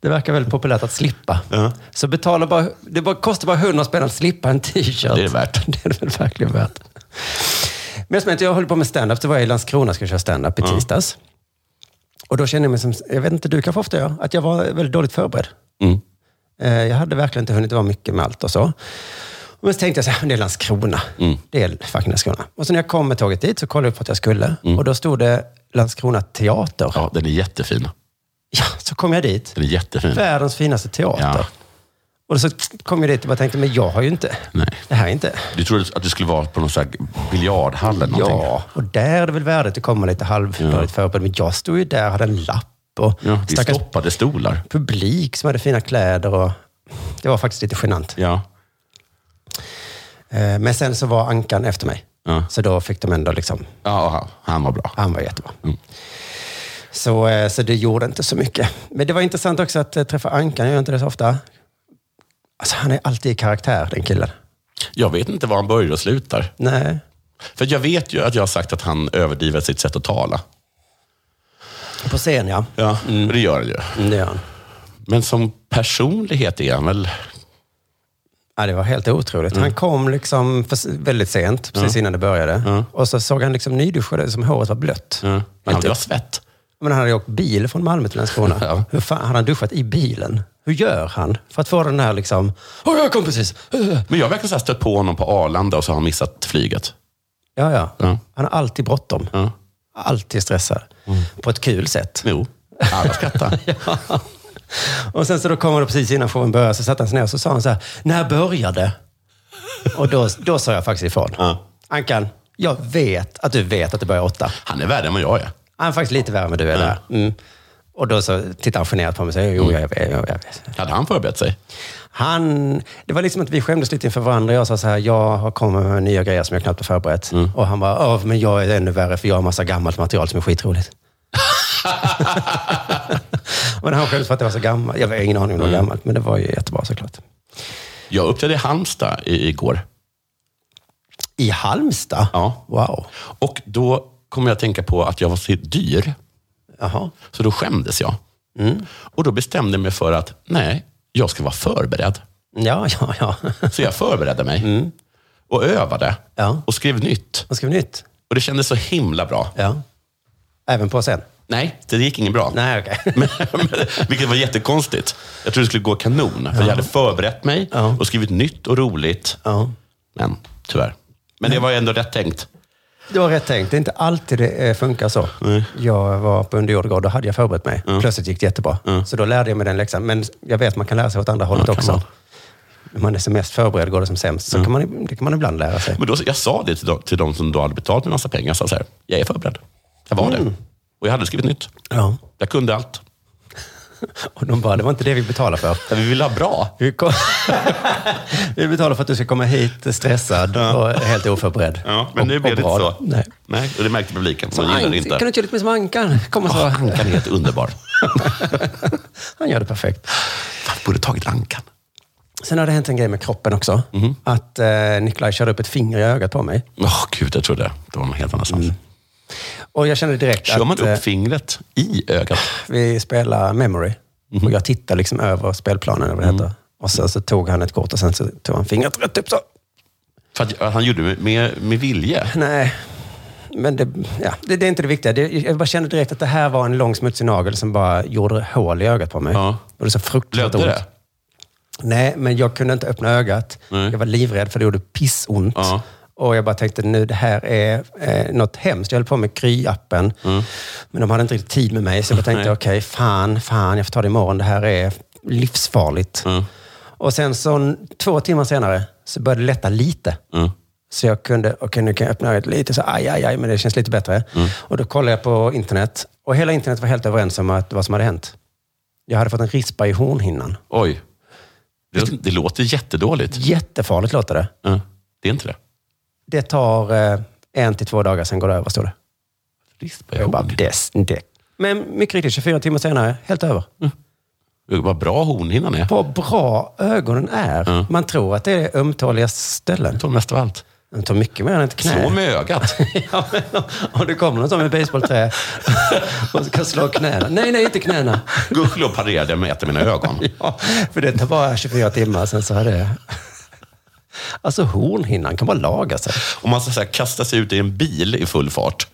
[SPEAKER 4] Det verkar väldigt populärt att slippa.
[SPEAKER 3] Ja.
[SPEAKER 4] Så betala bara, det bara, kostar bara 100 spänn att slippa en t-shirt.
[SPEAKER 3] Det är det värt.
[SPEAKER 4] Det är det väl verkligen värt. Men som jag, jag höll på med stand-up, så var jag i Landskrona och skulle köra stand-up i tisdags. Och då kände jag mig som, jag vet inte, du kanske ofta gör, att jag var väldigt dåligt förberedd.
[SPEAKER 3] Mm.
[SPEAKER 4] Eh, Jag hade verkligen inte hunnit vara mycket med allt och så. Men så tänkte jag så här, men det är Landskrona.
[SPEAKER 3] Mm.
[SPEAKER 4] Det är fucking Landskrona. Och så när jag kom med tåget dit så kollade jag upp vart jag skulle. Och då stod det Landskrona teater. Ja.
[SPEAKER 3] Mm. Ja, den är jättefin.
[SPEAKER 4] så kom jag dit.
[SPEAKER 3] Den är jättefin.
[SPEAKER 4] Världens finaste teater.
[SPEAKER 3] Ja.
[SPEAKER 4] Och så kom jag dit och bara tänkte, men jag har ju inte...
[SPEAKER 3] Nej.
[SPEAKER 4] Det här är inte...
[SPEAKER 3] Du trodde att du skulle vara på någon sån här biljardhall eller någonting?
[SPEAKER 4] Ja, och där är det väl värdet att komma lite halvdåligt förberedd. Men jag stod ju där, hade en lapp och
[SPEAKER 3] Ja, det är
[SPEAKER 4] stackars
[SPEAKER 3] stoppade stolar.
[SPEAKER 4] publik som hade fina kläder. Och det var faktiskt lite genant.
[SPEAKER 3] Ja.
[SPEAKER 4] Eh, Men sen så var Ankan efter mig.
[SPEAKER 3] Ja.
[SPEAKER 4] Så då fick de ändå liksom...
[SPEAKER 3] ja, han var bra.
[SPEAKER 4] Han var jättebra.
[SPEAKER 3] Mm.
[SPEAKER 4] Så, eh, så det gjorde inte så mycket. Men det var intressant också att eh, träffa Ankan. Jag gör inte det så ofta. Alltså, han är alltid i karaktär, den killen.
[SPEAKER 3] Jag vet inte var han börjar och slutar.
[SPEAKER 4] Nej.
[SPEAKER 3] För jag vet ju att jag har sagt att han överdriver sitt sätt att tala.
[SPEAKER 4] På scen, ja.
[SPEAKER 3] Ja, och det gör han ju.
[SPEAKER 4] Mm, Det gör han.
[SPEAKER 3] Men som personlighet är han väl...
[SPEAKER 4] Ja, det var helt otroligt. Han
[SPEAKER 3] Mm.
[SPEAKER 4] kom liksom för, väldigt sent, precis innan det började.
[SPEAKER 3] Mm.
[SPEAKER 4] Och så såg han liksom nyduschad ut, som håret var blött.
[SPEAKER 3] Ja. Han
[SPEAKER 4] Inte-
[SPEAKER 3] vill ha svett.
[SPEAKER 4] Men han hade ju åkt bil från Malmö till Landskrona.
[SPEAKER 3] Ja.
[SPEAKER 4] Hur fan hade han duschat i bilen? Hur gör han för att få den här liksom... Åh, jag kom precis! Äh."
[SPEAKER 3] Men jag har verkligen så här stött på honom på Arlanda och så har han missat flyget.
[SPEAKER 4] Ja, ja.
[SPEAKER 3] Ja.
[SPEAKER 4] Han har alltid bråttom.
[SPEAKER 3] Ja. Mm.
[SPEAKER 4] Alltid stressad. På ett kul sätt.
[SPEAKER 3] Jo, alla skrattar.
[SPEAKER 4] Och sen så då kommer det precis innan showen börjar så satte han sig ner och så sa han så här, när började? Och då, då sa jag faktiskt ifrån.
[SPEAKER 3] Ja.
[SPEAKER 4] Ankan, jag vet att du vet att det börjar åtta.
[SPEAKER 3] Han är värre än vad jag är.
[SPEAKER 4] Han är faktiskt lite värre än vad du är där. Mm. Och då så tittar han generat på mig och säger, jo, jag vet, jag vet.
[SPEAKER 3] Hade han förberett sig?
[SPEAKER 4] Han, det var liksom att vi skämdes lite inför varandra. Jag sa så här, jag har kommit med nya grejer som jag
[SPEAKER 3] Mm.
[SPEAKER 4] knappt har förberett. Och han bara, "Åh, men jag är ännu värre för jag har massa gammalt material som är skitroligt. Men han själv för att jag var så gammal. Jag har ingen aning om
[SPEAKER 3] Mm.
[SPEAKER 4] det var gammalt, men det var ju jättebra såklart.
[SPEAKER 3] Jag uppträdde i Halmstad i, igår.
[SPEAKER 4] I Halmstad?
[SPEAKER 3] Ja.
[SPEAKER 4] Wow.
[SPEAKER 3] Och då kom jag att tänka på att jag var så dyr.
[SPEAKER 4] Jaha. Mm.
[SPEAKER 3] Så då skämdes jag. Och då bestämde jag mig för att, nej, jag ska vara förberedd.
[SPEAKER 4] Ja, ja, ja.
[SPEAKER 3] Så jag förberedde mig. Och övade.
[SPEAKER 4] Mm. Ja.
[SPEAKER 3] Och skrev nytt.
[SPEAKER 4] Vad ska vi nytt?
[SPEAKER 3] Och det kändes så himla bra.
[SPEAKER 4] Ja. Även på sen?
[SPEAKER 3] Nej, det gick inget bra.
[SPEAKER 4] Nej, okej.
[SPEAKER 3] Men, men- vilket var jättekonstigt. Jag trodde det skulle gå kanon. För jag hade förberett mig
[SPEAKER 4] Ja.
[SPEAKER 3] och skrivit nytt och roligt.
[SPEAKER 4] Ja.
[SPEAKER 3] Men tyvärr. Men det var ju ändå rätt tänkt.
[SPEAKER 4] Det var rätt tänkt. Det är inte alltid det eh, funkar så. Jag var på underjordgård, då hade jag förberett mig. Plötsligt gick det jättebra. Så då lärde jag mig den läxan. Men jag vet att man kan lära sig åt andra hållet
[SPEAKER 3] kan
[SPEAKER 4] också.
[SPEAKER 3] man.
[SPEAKER 4] När man är som mest förberedd går det som sämst. Så kan man, det kan man ibland lära sig.
[SPEAKER 3] Men då, jag sa det till de, till de som då hade betalt mig massa pengar. Jag sa så här, jag är förberedd. Jag var det. Och jag hade skrivit nytt.
[SPEAKER 4] Ja.
[SPEAKER 3] Jag kunde allt.
[SPEAKER 4] Och de bara, det var inte det vi betalade för.
[SPEAKER 3] Men vi ville ha bra.
[SPEAKER 4] Vi, kom... vi betalar för att du ska komma hit stressad och helt oförberedd.
[SPEAKER 3] Ja, men nu
[SPEAKER 4] Och-
[SPEAKER 3] blev
[SPEAKER 4] och
[SPEAKER 3] det inte
[SPEAKER 4] bra.
[SPEAKER 3] så.
[SPEAKER 4] Nej.
[SPEAKER 3] Nej, och det märkte publiken. De gillade det
[SPEAKER 4] Ank- Kan du
[SPEAKER 3] inte.
[SPEAKER 4] inte göra lite mer som Ankan? Kom och så.
[SPEAKER 3] Åh, Ankan är helt underbar.
[SPEAKER 4] Han gör det perfekt.
[SPEAKER 3] Fan, borde tagit Ankan.
[SPEAKER 4] Sen har det hänt en grej med kroppen också.
[SPEAKER 3] Mhm.
[SPEAKER 4] Att eh, Nikolaj körde upp ett finger i ögat på mig.
[SPEAKER 3] Åh, gud, jag trodde det var någon helt annanstans.
[SPEAKER 4] Och jag kände direkt
[SPEAKER 3] Kör
[SPEAKER 4] att
[SPEAKER 3] man
[SPEAKER 4] eh,
[SPEAKER 3] upp fingret i ögat?
[SPEAKER 4] vi spelar Memory.
[SPEAKER 3] Mhm.
[SPEAKER 4] Och jag tittar liksom över spelplanen, eller vad det heter. Och sen så tog han ett kort och sen så tog han fingret rätt upp så.
[SPEAKER 3] För att, att han gjorde det med, med vilje.
[SPEAKER 4] Nej, men det, ja, det, det är inte det viktiga. Det, jag bara kände direkt att det här var en lång smutsig nagel som bara gjorde hål i ögat på mig.
[SPEAKER 3] Ja.
[SPEAKER 4] Och det så fruktansvärt
[SPEAKER 3] Blödde det?
[SPEAKER 4] Nej, men jag kunde inte öppna ögat.
[SPEAKER 3] Nej.
[SPEAKER 4] Jag var livrädd för det gjorde pissont.
[SPEAKER 3] Ja.
[SPEAKER 4] Och jag bara tänkte nu, det här är eh, något hemskt. Jag höll på med Kry-appen, men de hade inte riktigt tid med mig. Så jag tänkte, okej,
[SPEAKER 3] Nej.
[SPEAKER 4] fan, fan, jag får ta det imorgon. Det här är livsfarligt. Och sen så, två timmar senare så började det lätta lite.
[SPEAKER 3] Mm.
[SPEAKER 4] Så jag kunde, okej nu kan jag öppna ögat lite, så aj, aj, aj, men det känns lite bättre. Och då kollade jag på internet och hela internet var helt överens om att, vad som hade hänt. Jag hade fått en rispa i hornhinnan.
[SPEAKER 3] Oj. Det, låter- det låter jättedåligt.
[SPEAKER 4] Jättefarligt låter det.
[SPEAKER 3] Ja, det är inte det.
[SPEAKER 4] Det tar eh, en till två dagar, sen går det över, står det.
[SPEAKER 3] Rispa
[SPEAKER 4] Jag bara,
[SPEAKER 3] horn.
[SPEAKER 4] "Des- det. Men mycket riktigt, 24 timmar senare, helt över.
[SPEAKER 3] Mm. Vad bra hornhinnan är.
[SPEAKER 4] Vad bra ögonen är.
[SPEAKER 3] Mm.
[SPEAKER 4] Man tror att det är ömtåliga ställen.
[SPEAKER 3] Det tål mest av allt.
[SPEAKER 4] De tar mycket mer än ett knä.
[SPEAKER 3] Slå med ögat.
[SPEAKER 4] Ja, men om- om det kommer någon sån med basebollträ och ska slå knäna. Nej, nej, inte knäna.
[SPEAKER 3] Gudskelov parerade jag med ett av mina ögon.
[SPEAKER 4] Ja, för det tar bara 24 timmar, sen så har det... Alltså hornhinnan kan bara laga sig.
[SPEAKER 3] Om man ska så här, kasta sig ut i en bil i full fart,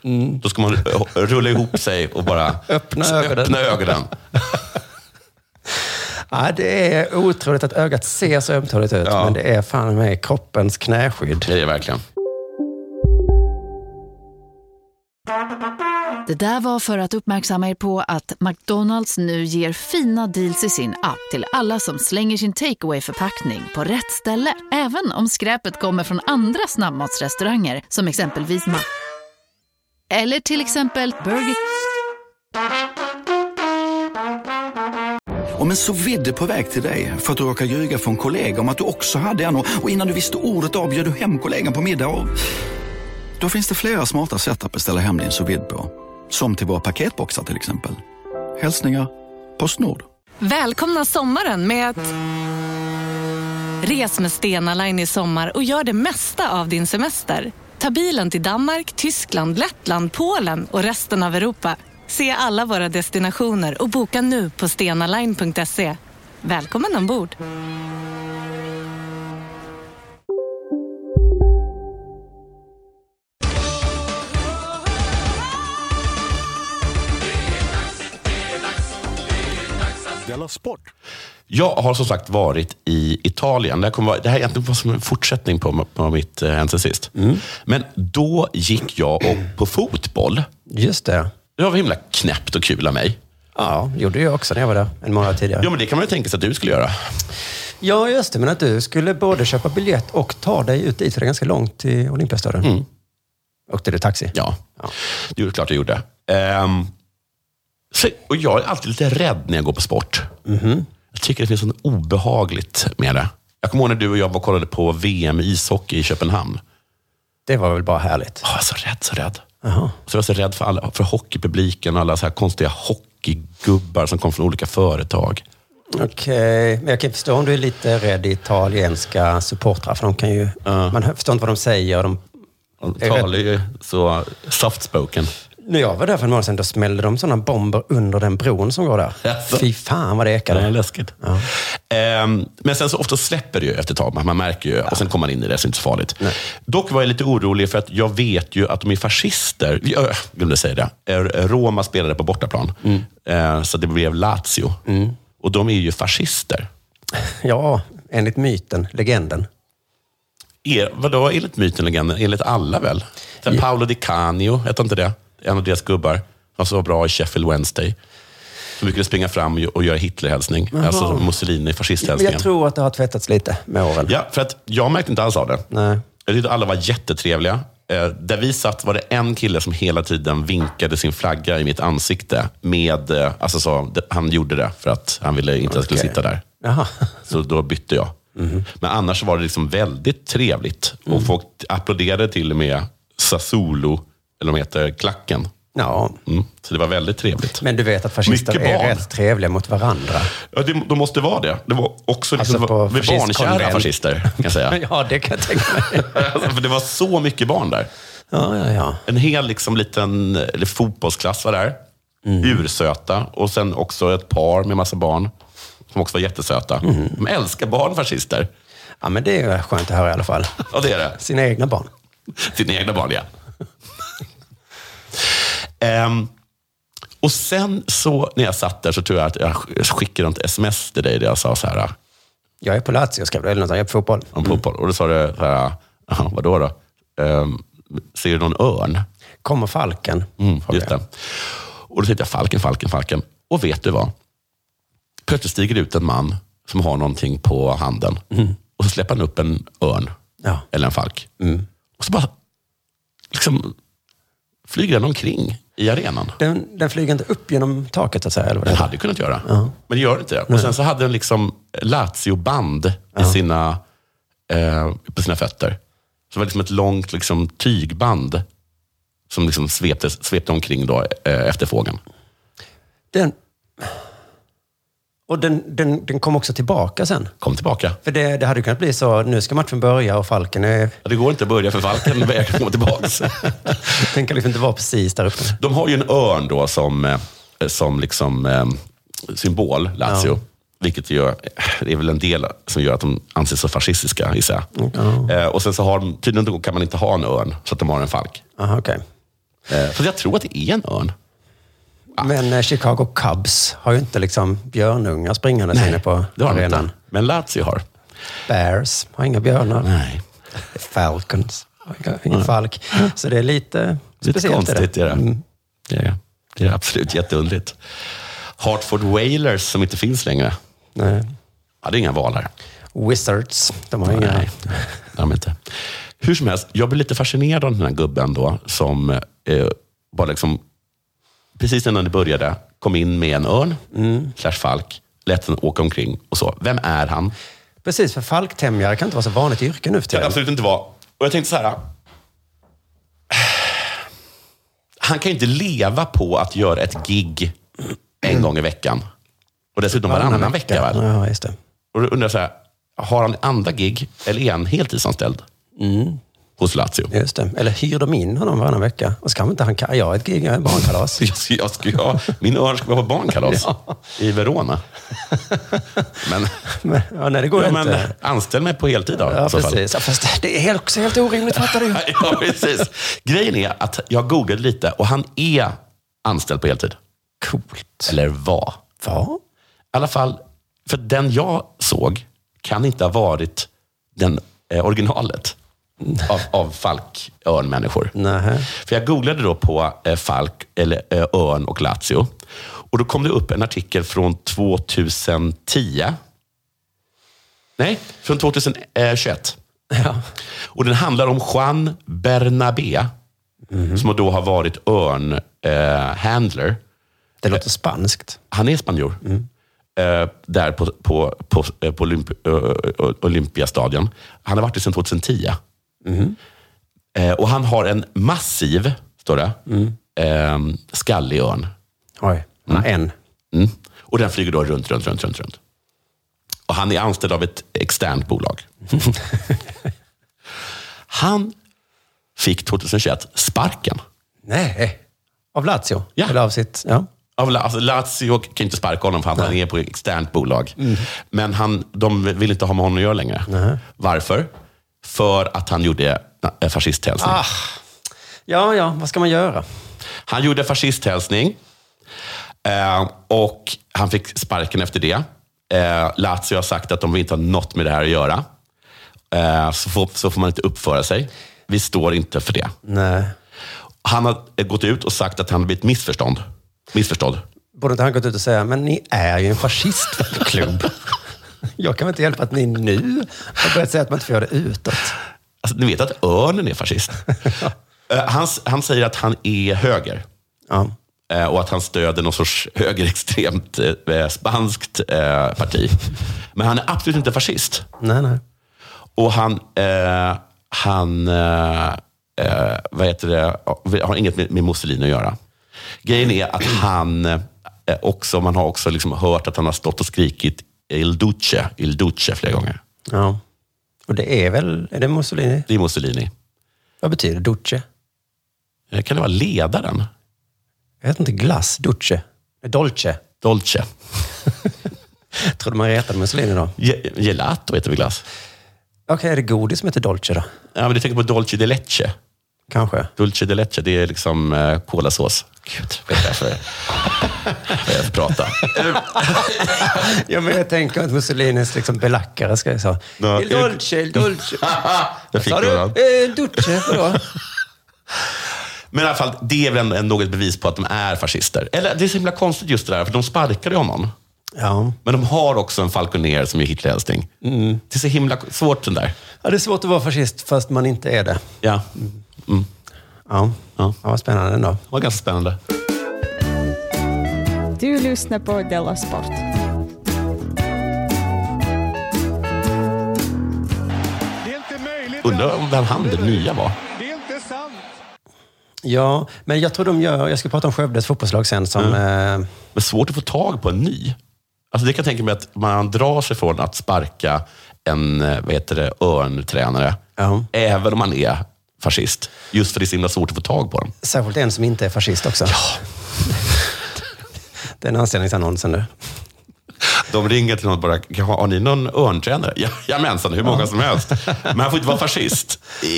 [SPEAKER 3] då ska man eh, rulla ihop sig och bara
[SPEAKER 4] Öppna
[SPEAKER 3] s-
[SPEAKER 4] ögonen.
[SPEAKER 3] öppna ögonen.
[SPEAKER 4] Ja, det är otroligt att ögat ser så ömtåligt ut,
[SPEAKER 3] Ja.
[SPEAKER 4] men det är fan med kroppens knäskydd.
[SPEAKER 3] Det är det verkligen.
[SPEAKER 6] Det där var för att uppmärksamma er på att McDonalds nu ger fina deals i sin app till alla som slänger sin takeaway förpackning på rätt ställe. Även om skräpet kommer från andra snabbmatsrestauranger som exempelvis Ma... Eller till exempel Burger...
[SPEAKER 2] Om en så vidde på väg till dig för att du råkar ljuga från kollega om att du också hade en och och innan du visste ordet av bjöd du hem kollegan på middag och... Då finns det flera smarta sätt att beställa hem din sous vide på. Som till våra paketboxar till exempel. Hälsningar Postnord.
[SPEAKER 5] Välkomna sommaren med att... Res med Stena Line i sommar och gör det mesta av din semester. Ta bilen till Danmark, Tyskland, Lettland, Polen och resten av Europa. Se alla våra destinationer och boka nu på stenaline.se. Välkommen ombord!
[SPEAKER 2] Della Sport.
[SPEAKER 3] Jag har som sagt varit i Italien. Det här, kommer vara, det här är egentligen bara som en fortsättning på, på mitt eh, Hänt sen sist. Men då gick jag och på fotboll.
[SPEAKER 4] Just det.
[SPEAKER 3] Det var himla knäppt och kul av mig.
[SPEAKER 4] Ja, gjorde jag också när jag var där en månad tidigare.
[SPEAKER 3] Ja, men det kan man ju tänka sig att du skulle göra.
[SPEAKER 4] Ja, just det. Men att du skulle både köpa biljett och ta dig ut dit, för det är ganska långt till Olympiastadion. Åkte du taxi?
[SPEAKER 3] Mm. Ja, det är klart jag gjorde. Ehm, så, och jag är alltid lite rädd när jag går på sport. Jag tycker det finns något obehagligt med det. Jag kommer ihåg när du och jag var och kollade på VM i ishockey i Köpenhamn.
[SPEAKER 4] Det var väl bara härligt.
[SPEAKER 3] Oh, jag är så rädd, så rädd. Så jag var så rädd för, alla, för hockeypubliken och alla så här konstiga hockeygubbar som kom från olika företag.
[SPEAKER 4] Okej, men jag kan förstå om du är lite rädd i italienska supportrar, för de kan ju... Man förstår inte vad de säger. och De,
[SPEAKER 3] De
[SPEAKER 4] är
[SPEAKER 3] talar
[SPEAKER 4] rätt-
[SPEAKER 3] ju så soft spoken.
[SPEAKER 4] När jag var där för en månad sedan, då smällde de sådana bomber under den bron som går där.
[SPEAKER 3] Jaså?
[SPEAKER 4] Fy fan vad det ekade.
[SPEAKER 3] Det är läskigt. Ehm, men sen så ofta släpper det ju efter ett tag. Man man märker ju. Och sen kommer man in i det, så det är inte så farligt. Dock var jag lite orolig för att jag vet ju att de är fascister. Jag jag glömde säga det. Eh, Roma spelade på bortaplan.
[SPEAKER 4] Mm.
[SPEAKER 3] Eh, så det blev Lazio. Och de är ju fascister.
[SPEAKER 4] Ja, enligt myten, legenden.
[SPEAKER 3] Er, vadå enligt myten legenden? Enligt alla väl? Sen Paolo Di Canio, hette inte det? En av deras gubbar. Han som var bra i Sheffield Wednesday. Som brukade springa fram och göra Hitlerhälsning. Alltså Mussolini,
[SPEAKER 4] Men jag
[SPEAKER 3] fascisthälsningen.
[SPEAKER 4] tror att det har tvättats lite med åren.
[SPEAKER 3] Ja, för att jag märkte inte alls av det.
[SPEAKER 4] Nej.
[SPEAKER 3] Jag tyckte alla var jättetrevliga. Eh, där vi satt var det en kille som hela tiden vinkade sin flagga i mitt ansikte. Med, eh, alltså så, det- han gjorde det för att han ville inte att jag skulle
[SPEAKER 4] Okej. Mhm.
[SPEAKER 3] sitta där.
[SPEAKER 4] Jaha.
[SPEAKER 3] Så då bytte jag. Men annars var det liksom väldigt trevligt.
[SPEAKER 4] Mm.
[SPEAKER 3] Och folk applåderade till och med Sasulu, eller de heter klacken.
[SPEAKER 4] Ja.
[SPEAKER 3] Mm. Så det var väldigt trevligt.
[SPEAKER 4] Men du vet att fascister
[SPEAKER 3] Mycket barn.
[SPEAKER 4] är rätt trevliga mot varandra.
[SPEAKER 3] Ja, det, de måste vara det. Det var också
[SPEAKER 4] Alltså
[SPEAKER 3] liksom,
[SPEAKER 4] på
[SPEAKER 3] vi är barnkära
[SPEAKER 4] fascistkonvent.
[SPEAKER 3] fascister, kan jag säga.
[SPEAKER 4] Ja, det kan jag tänka mig.
[SPEAKER 3] Alltså, för det var så mycket barn där.
[SPEAKER 4] Ja, ja, ja.
[SPEAKER 3] En hel liksom, liten eller fotbollsklass var där. Ursöta. Och sen också ett par med massa barn. Som också var jättesöta. De älskar barn, fascister.
[SPEAKER 4] Ja, men det är ju skönt att höra i alla fall.
[SPEAKER 3] Ja, det är det.
[SPEAKER 4] Sina egna barn.
[SPEAKER 3] Sina egna barn, ja. Ehm, och sen så, när jag satt där, så tror jag att jag sk- skickade ett sms till dig där jag sa så här,
[SPEAKER 4] Jag är på Lazio, skrev du, eller något, jag är på fotboll.
[SPEAKER 3] om fotboll. Och då sa du så här, "Jaha, vadå då? Ehm, ser du någon örn?
[SPEAKER 4] Kommer Falken?
[SPEAKER 3] Mm,
[SPEAKER 4] frågade
[SPEAKER 3] just det. Och då tänkte jag, Falken, Falken, Falken. Och vet du vad? Plötsligt stiger det ut en man som har någonting på handen. Och så släpper han upp en örn,
[SPEAKER 4] jag. Ja.
[SPEAKER 3] eller en falk. Och så bara liksom, flyger den omkring i arenan.
[SPEAKER 4] Den, den flyger inte upp genom taket, så att säga? Eller vad det
[SPEAKER 3] Den
[SPEAKER 4] heter.
[SPEAKER 3] hade ju kunnat göra, men det gör inte det. Och sen så hade den liksom Lazio-band i sina, eh, på sina fötter. Så det var liksom ett långt liksom, tygband som liksom svepte, svepte omkring då, eh, efter fågeln.
[SPEAKER 4] Den, och den, den, den kom också tillbaka sen.
[SPEAKER 3] Kom tillbaka.
[SPEAKER 4] För det, det hade ju kunnat bli så, nu ska matchen börja och Falken är,
[SPEAKER 3] Ja, Det går inte att börja för Falken vägrar komma tillbaka.
[SPEAKER 4] den kan liksom inte vara precis där uppe.
[SPEAKER 3] De har ju en örn då som, eh, som liksom, eh, symbol, Lazio. Vilket gör, det är väl en del som gör att de anses så fascistiska, gissar jag. Eh, Och sen så har de, tydligen då kan man inte ha en örn, så att de har en falk.
[SPEAKER 4] Aha, okej.
[SPEAKER 3] Eh, Så jag tror att det är en örn.
[SPEAKER 4] Men eh, Chicago Cubs har ju inte liksom björnungar springandes inne på
[SPEAKER 3] det har de
[SPEAKER 4] arenan.
[SPEAKER 3] inte. Men Lazio har.
[SPEAKER 4] Bears har inga björnar.
[SPEAKER 3] Nej.
[SPEAKER 4] Falcons har inga, ingen falk. Så det är lite,
[SPEAKER 3] Lite
[SPEAKER 4] speciellt.
[SPEAKER 3] konstigt är det.
[SPEAKER 4] Mm.
[SPEAKER 3] Det är, det är absolut jätteunderligt. Hartford Whalers som inte finns längre.
[SPEAKER 4] Nej.
[SPEAKER 3] Ja, det är inga valar.
[SPEAKER 4] Wizards, de har inga...
[SPEAKER 3] Nej, det har de inte. Hur som helst, jag blev lite fascinerad av den här gubben då, som eh, bara liksom, precis innan det började, kom in med en örn, slash falk, lät den åka omkring och så. Vem är han?
[SPEAKER 4] Precis, för falktämjare kan inte vara så vanligt yrke
[SPEAKER 3] Det
[SPEAKER 4] nu för
[SPEAKER 3] kan
[SPEAKER 4] tiden.
[SPEAKER 3] det absolut inte vara. Och jag tänkte så här. äh, Han kan ju inte leva på att göra ett gig en gång i veckan. Och dessutom varannan vecka. väl?
[SPEAKER 4] Ja, just det.
[SPEAKER 3] Och då undrar jag så här, har han andra gig eller är han heltidsanställd? Mm. Hos Lazio.
[SPEAKER 4] Just det. Eller hyr de in honom varannan vecka? Och så kan inte han... ka- Jag har ett gig, jag har ett barnkalas.
[SPEAKER 3] Jag ska, jag ska, ja, min örn ska vara på barnkalas i Verona. Men,
[SPEAKER 4] Men, ja, nej, det går
[SPEAKER 3] ja, men eh,
[SPEAKER 4] inte.
[SPEAKER 3] anställ mig på heltid då.
[SPEAKER 4] Ja,
[SPEAKER 3] i så fall.
[SPEAKER 4] precis. Ja, fast det är helt- också helt orimligt, fattar du?
[SPEAKER 3] Ja, precis. Grejen är att jag googlade lite och han är anställd på heltid.
[SPEAKER 4] Coolt.
[SPEAKER 3] Eller var.
[SPEAKER 4] Va?
[SPEAKER 3] I alla fall, för den jag såg kan inte ha varit den eh, originalet av, av Falk-örnmänniskor.
[SPEAKER 4] Nej.
[SPEAKER 3] För jag googlade då på eh, Falk, eller eh, Örn och Lazio. Och då kom det upp en artikel från 2010. Nej, från 2021.
[SPEAKER 4] Ja.
[SPEAKER 3] Och den handlar om Juan Bernabé, som då har varit eh, örn-handler.
[SPEAKER 4] Det låter spanskt.
[SPEAKER 3] Han är spanjor. Eh, där på, på, på, eh, på Olymp, eh, Olympiastadion. Han har varit det sedan 2010. Eh, och han har en massiv, står står det. Ehm, skallig örn.
[SPEAKER 4] Oj, en.
[SPEAKER 3] Mm. Och den flyger då runt, runt, runt, runt, runt. Och han är anställd av ett externt bolag. han fick 2021 sparken.
[SPEAKER 4] Nej. Av Lazio?
[SPEAKER 3] Ja.
[SPEAKER 4] Eller av sitt... Ja.
[SPEAKER 3] Av La- alltså Lazio kan inte sparka honom för han han är på externt bolag. Men han, de vill inte ha med honom att göra längre. Varför? För att han gjorde eh, fascisthälsning.
[SPEAKER 4] ja, ja. Vad ska man göra?
[SPEAKER 3] Han gjorde fascisthälsning eh, och han fick sparken efter det. Eh, Lazio har sagt att de vill inte ha något med det här att göra. Eh, så, får, så får man inte uppföra sig. Vi står inte för det.
[SPEAKER 4] Nej.
[SPEAKER 3] Han har eh, gått ut och sagt att han har blivit missförstånd. missförstådd.
[SPEAKER 4] Borde inte han gått ut och säga, men ni är ju en fascistklubb. Jag kan väl inte hjälpa att ni nu har börjat säga att man inte får göra det utåt.
[SPEAKER 3] Alltså, ni vet att örnen är fascist. eh, han, s- han säger att han är höger.
[SPEAKER 4] Ja.
[SPEAKER 3] Eh, och att han stöder någon sorts högerextremt eh, spanskt eh, parti. Men han är absolut inte fascist.
[SPEAKER 4] Nej, nej.
[SPEAKER 3] Och han, eh, han eh, eh, vad heter det, har inget med, med Mussolini att göra. Grejen är att han eh, också, man har också liksom hört att han har stått och skrikit Il Duce, Il Duce flera gånger.
[SPEAKER 4] Ja. Och det är väl, är det Mussolini?
[SPEAKER 3] Det är Mussolini.
[SPEAKER 4] Vad betyder duce?
[SPEAKER 3] Eh, Kan det vara ledaren?
[SPEAKER 4] Jag vet inte, glass, duce. Dolce.
[SPEAKER 3] Dolce.
[SPEAKER 4] Trodde man retade Mussolini då?
[SPEAKER 3] Ge- Gelato heter väl glass?
[SPEAKER 4] Okej, är det godis som heter dolce då?
[SPEAKER 3] Ja, men du tänker på Dolce de Lecce.
[SPEAKER 4] Kanske.
[SPEAKER 3] Dulce de leche, det är liksom eh, kolasås. Gud, vad är det här för... Vad är det för prata?
[SPEAKER 4] Ja, men jag tänker att Mussolinis liksom belackare ska jag säga.
[SPEAKER 3] Ja,
[SPEAKER 4] Il dolce, il dolce.
[SPEAKER 3] Jag fick
[SPEAKER 4] Sa du?
[SPEAKER 3] några.
[SPEAKER 4] Eh, duce, vadå?
[SPEAKER 3] Men i alla fall, det är väl en- en- något bevis på att de är fascister. Eller det är så himla konstigt just det där, för de sparkade ju honom.
[SPEAKER 4] Ja.
[SPEAKER 3] Men de har också en falconer som är Hitlerhälsning. Det är så himla k- svårt den där.
[SPEAKER 4] ja, det är svårt att vara fascist fast man inte är det.
[SPEAKER 3] Ja. Mm.
[SPEAKER 4] Ja,
[SPEAKER 3] Ja.
[SPEAKER 4] ja. vad spännande ändå.
[SPEAKER 3] Det var ganska spännande.
[SPEAKER 7] Du lyssnar på Della Sport.
[SPEAKER 3] Undrar om vem han den nya var.
[SPEAKER 4] Ja, men jag tror de gör... Jag ska prata om Skövdes fotbollslag sen som... Eh,
[SPEAKER 3] Men svårt att få tag på en ny. Alltså det kan jag tänka mig att man drar sig från att sparka en eh, vad heter det, örntränare.
[SPEAKER 4] ja.
[SPEAKER 3] Även om man är fascist. Just för det är så himla svårt att få tag på dem.
[SPEAKER 4] Särskilt en som inte är fascist också. Ja. Den anställningsannonsen du.
[SPEAKER 3] De ringer till någon och bara, "Kan- har ni någon örntränare? Ja, jajamensan, hur många som helst. Men han får inte vara fascist. Eh,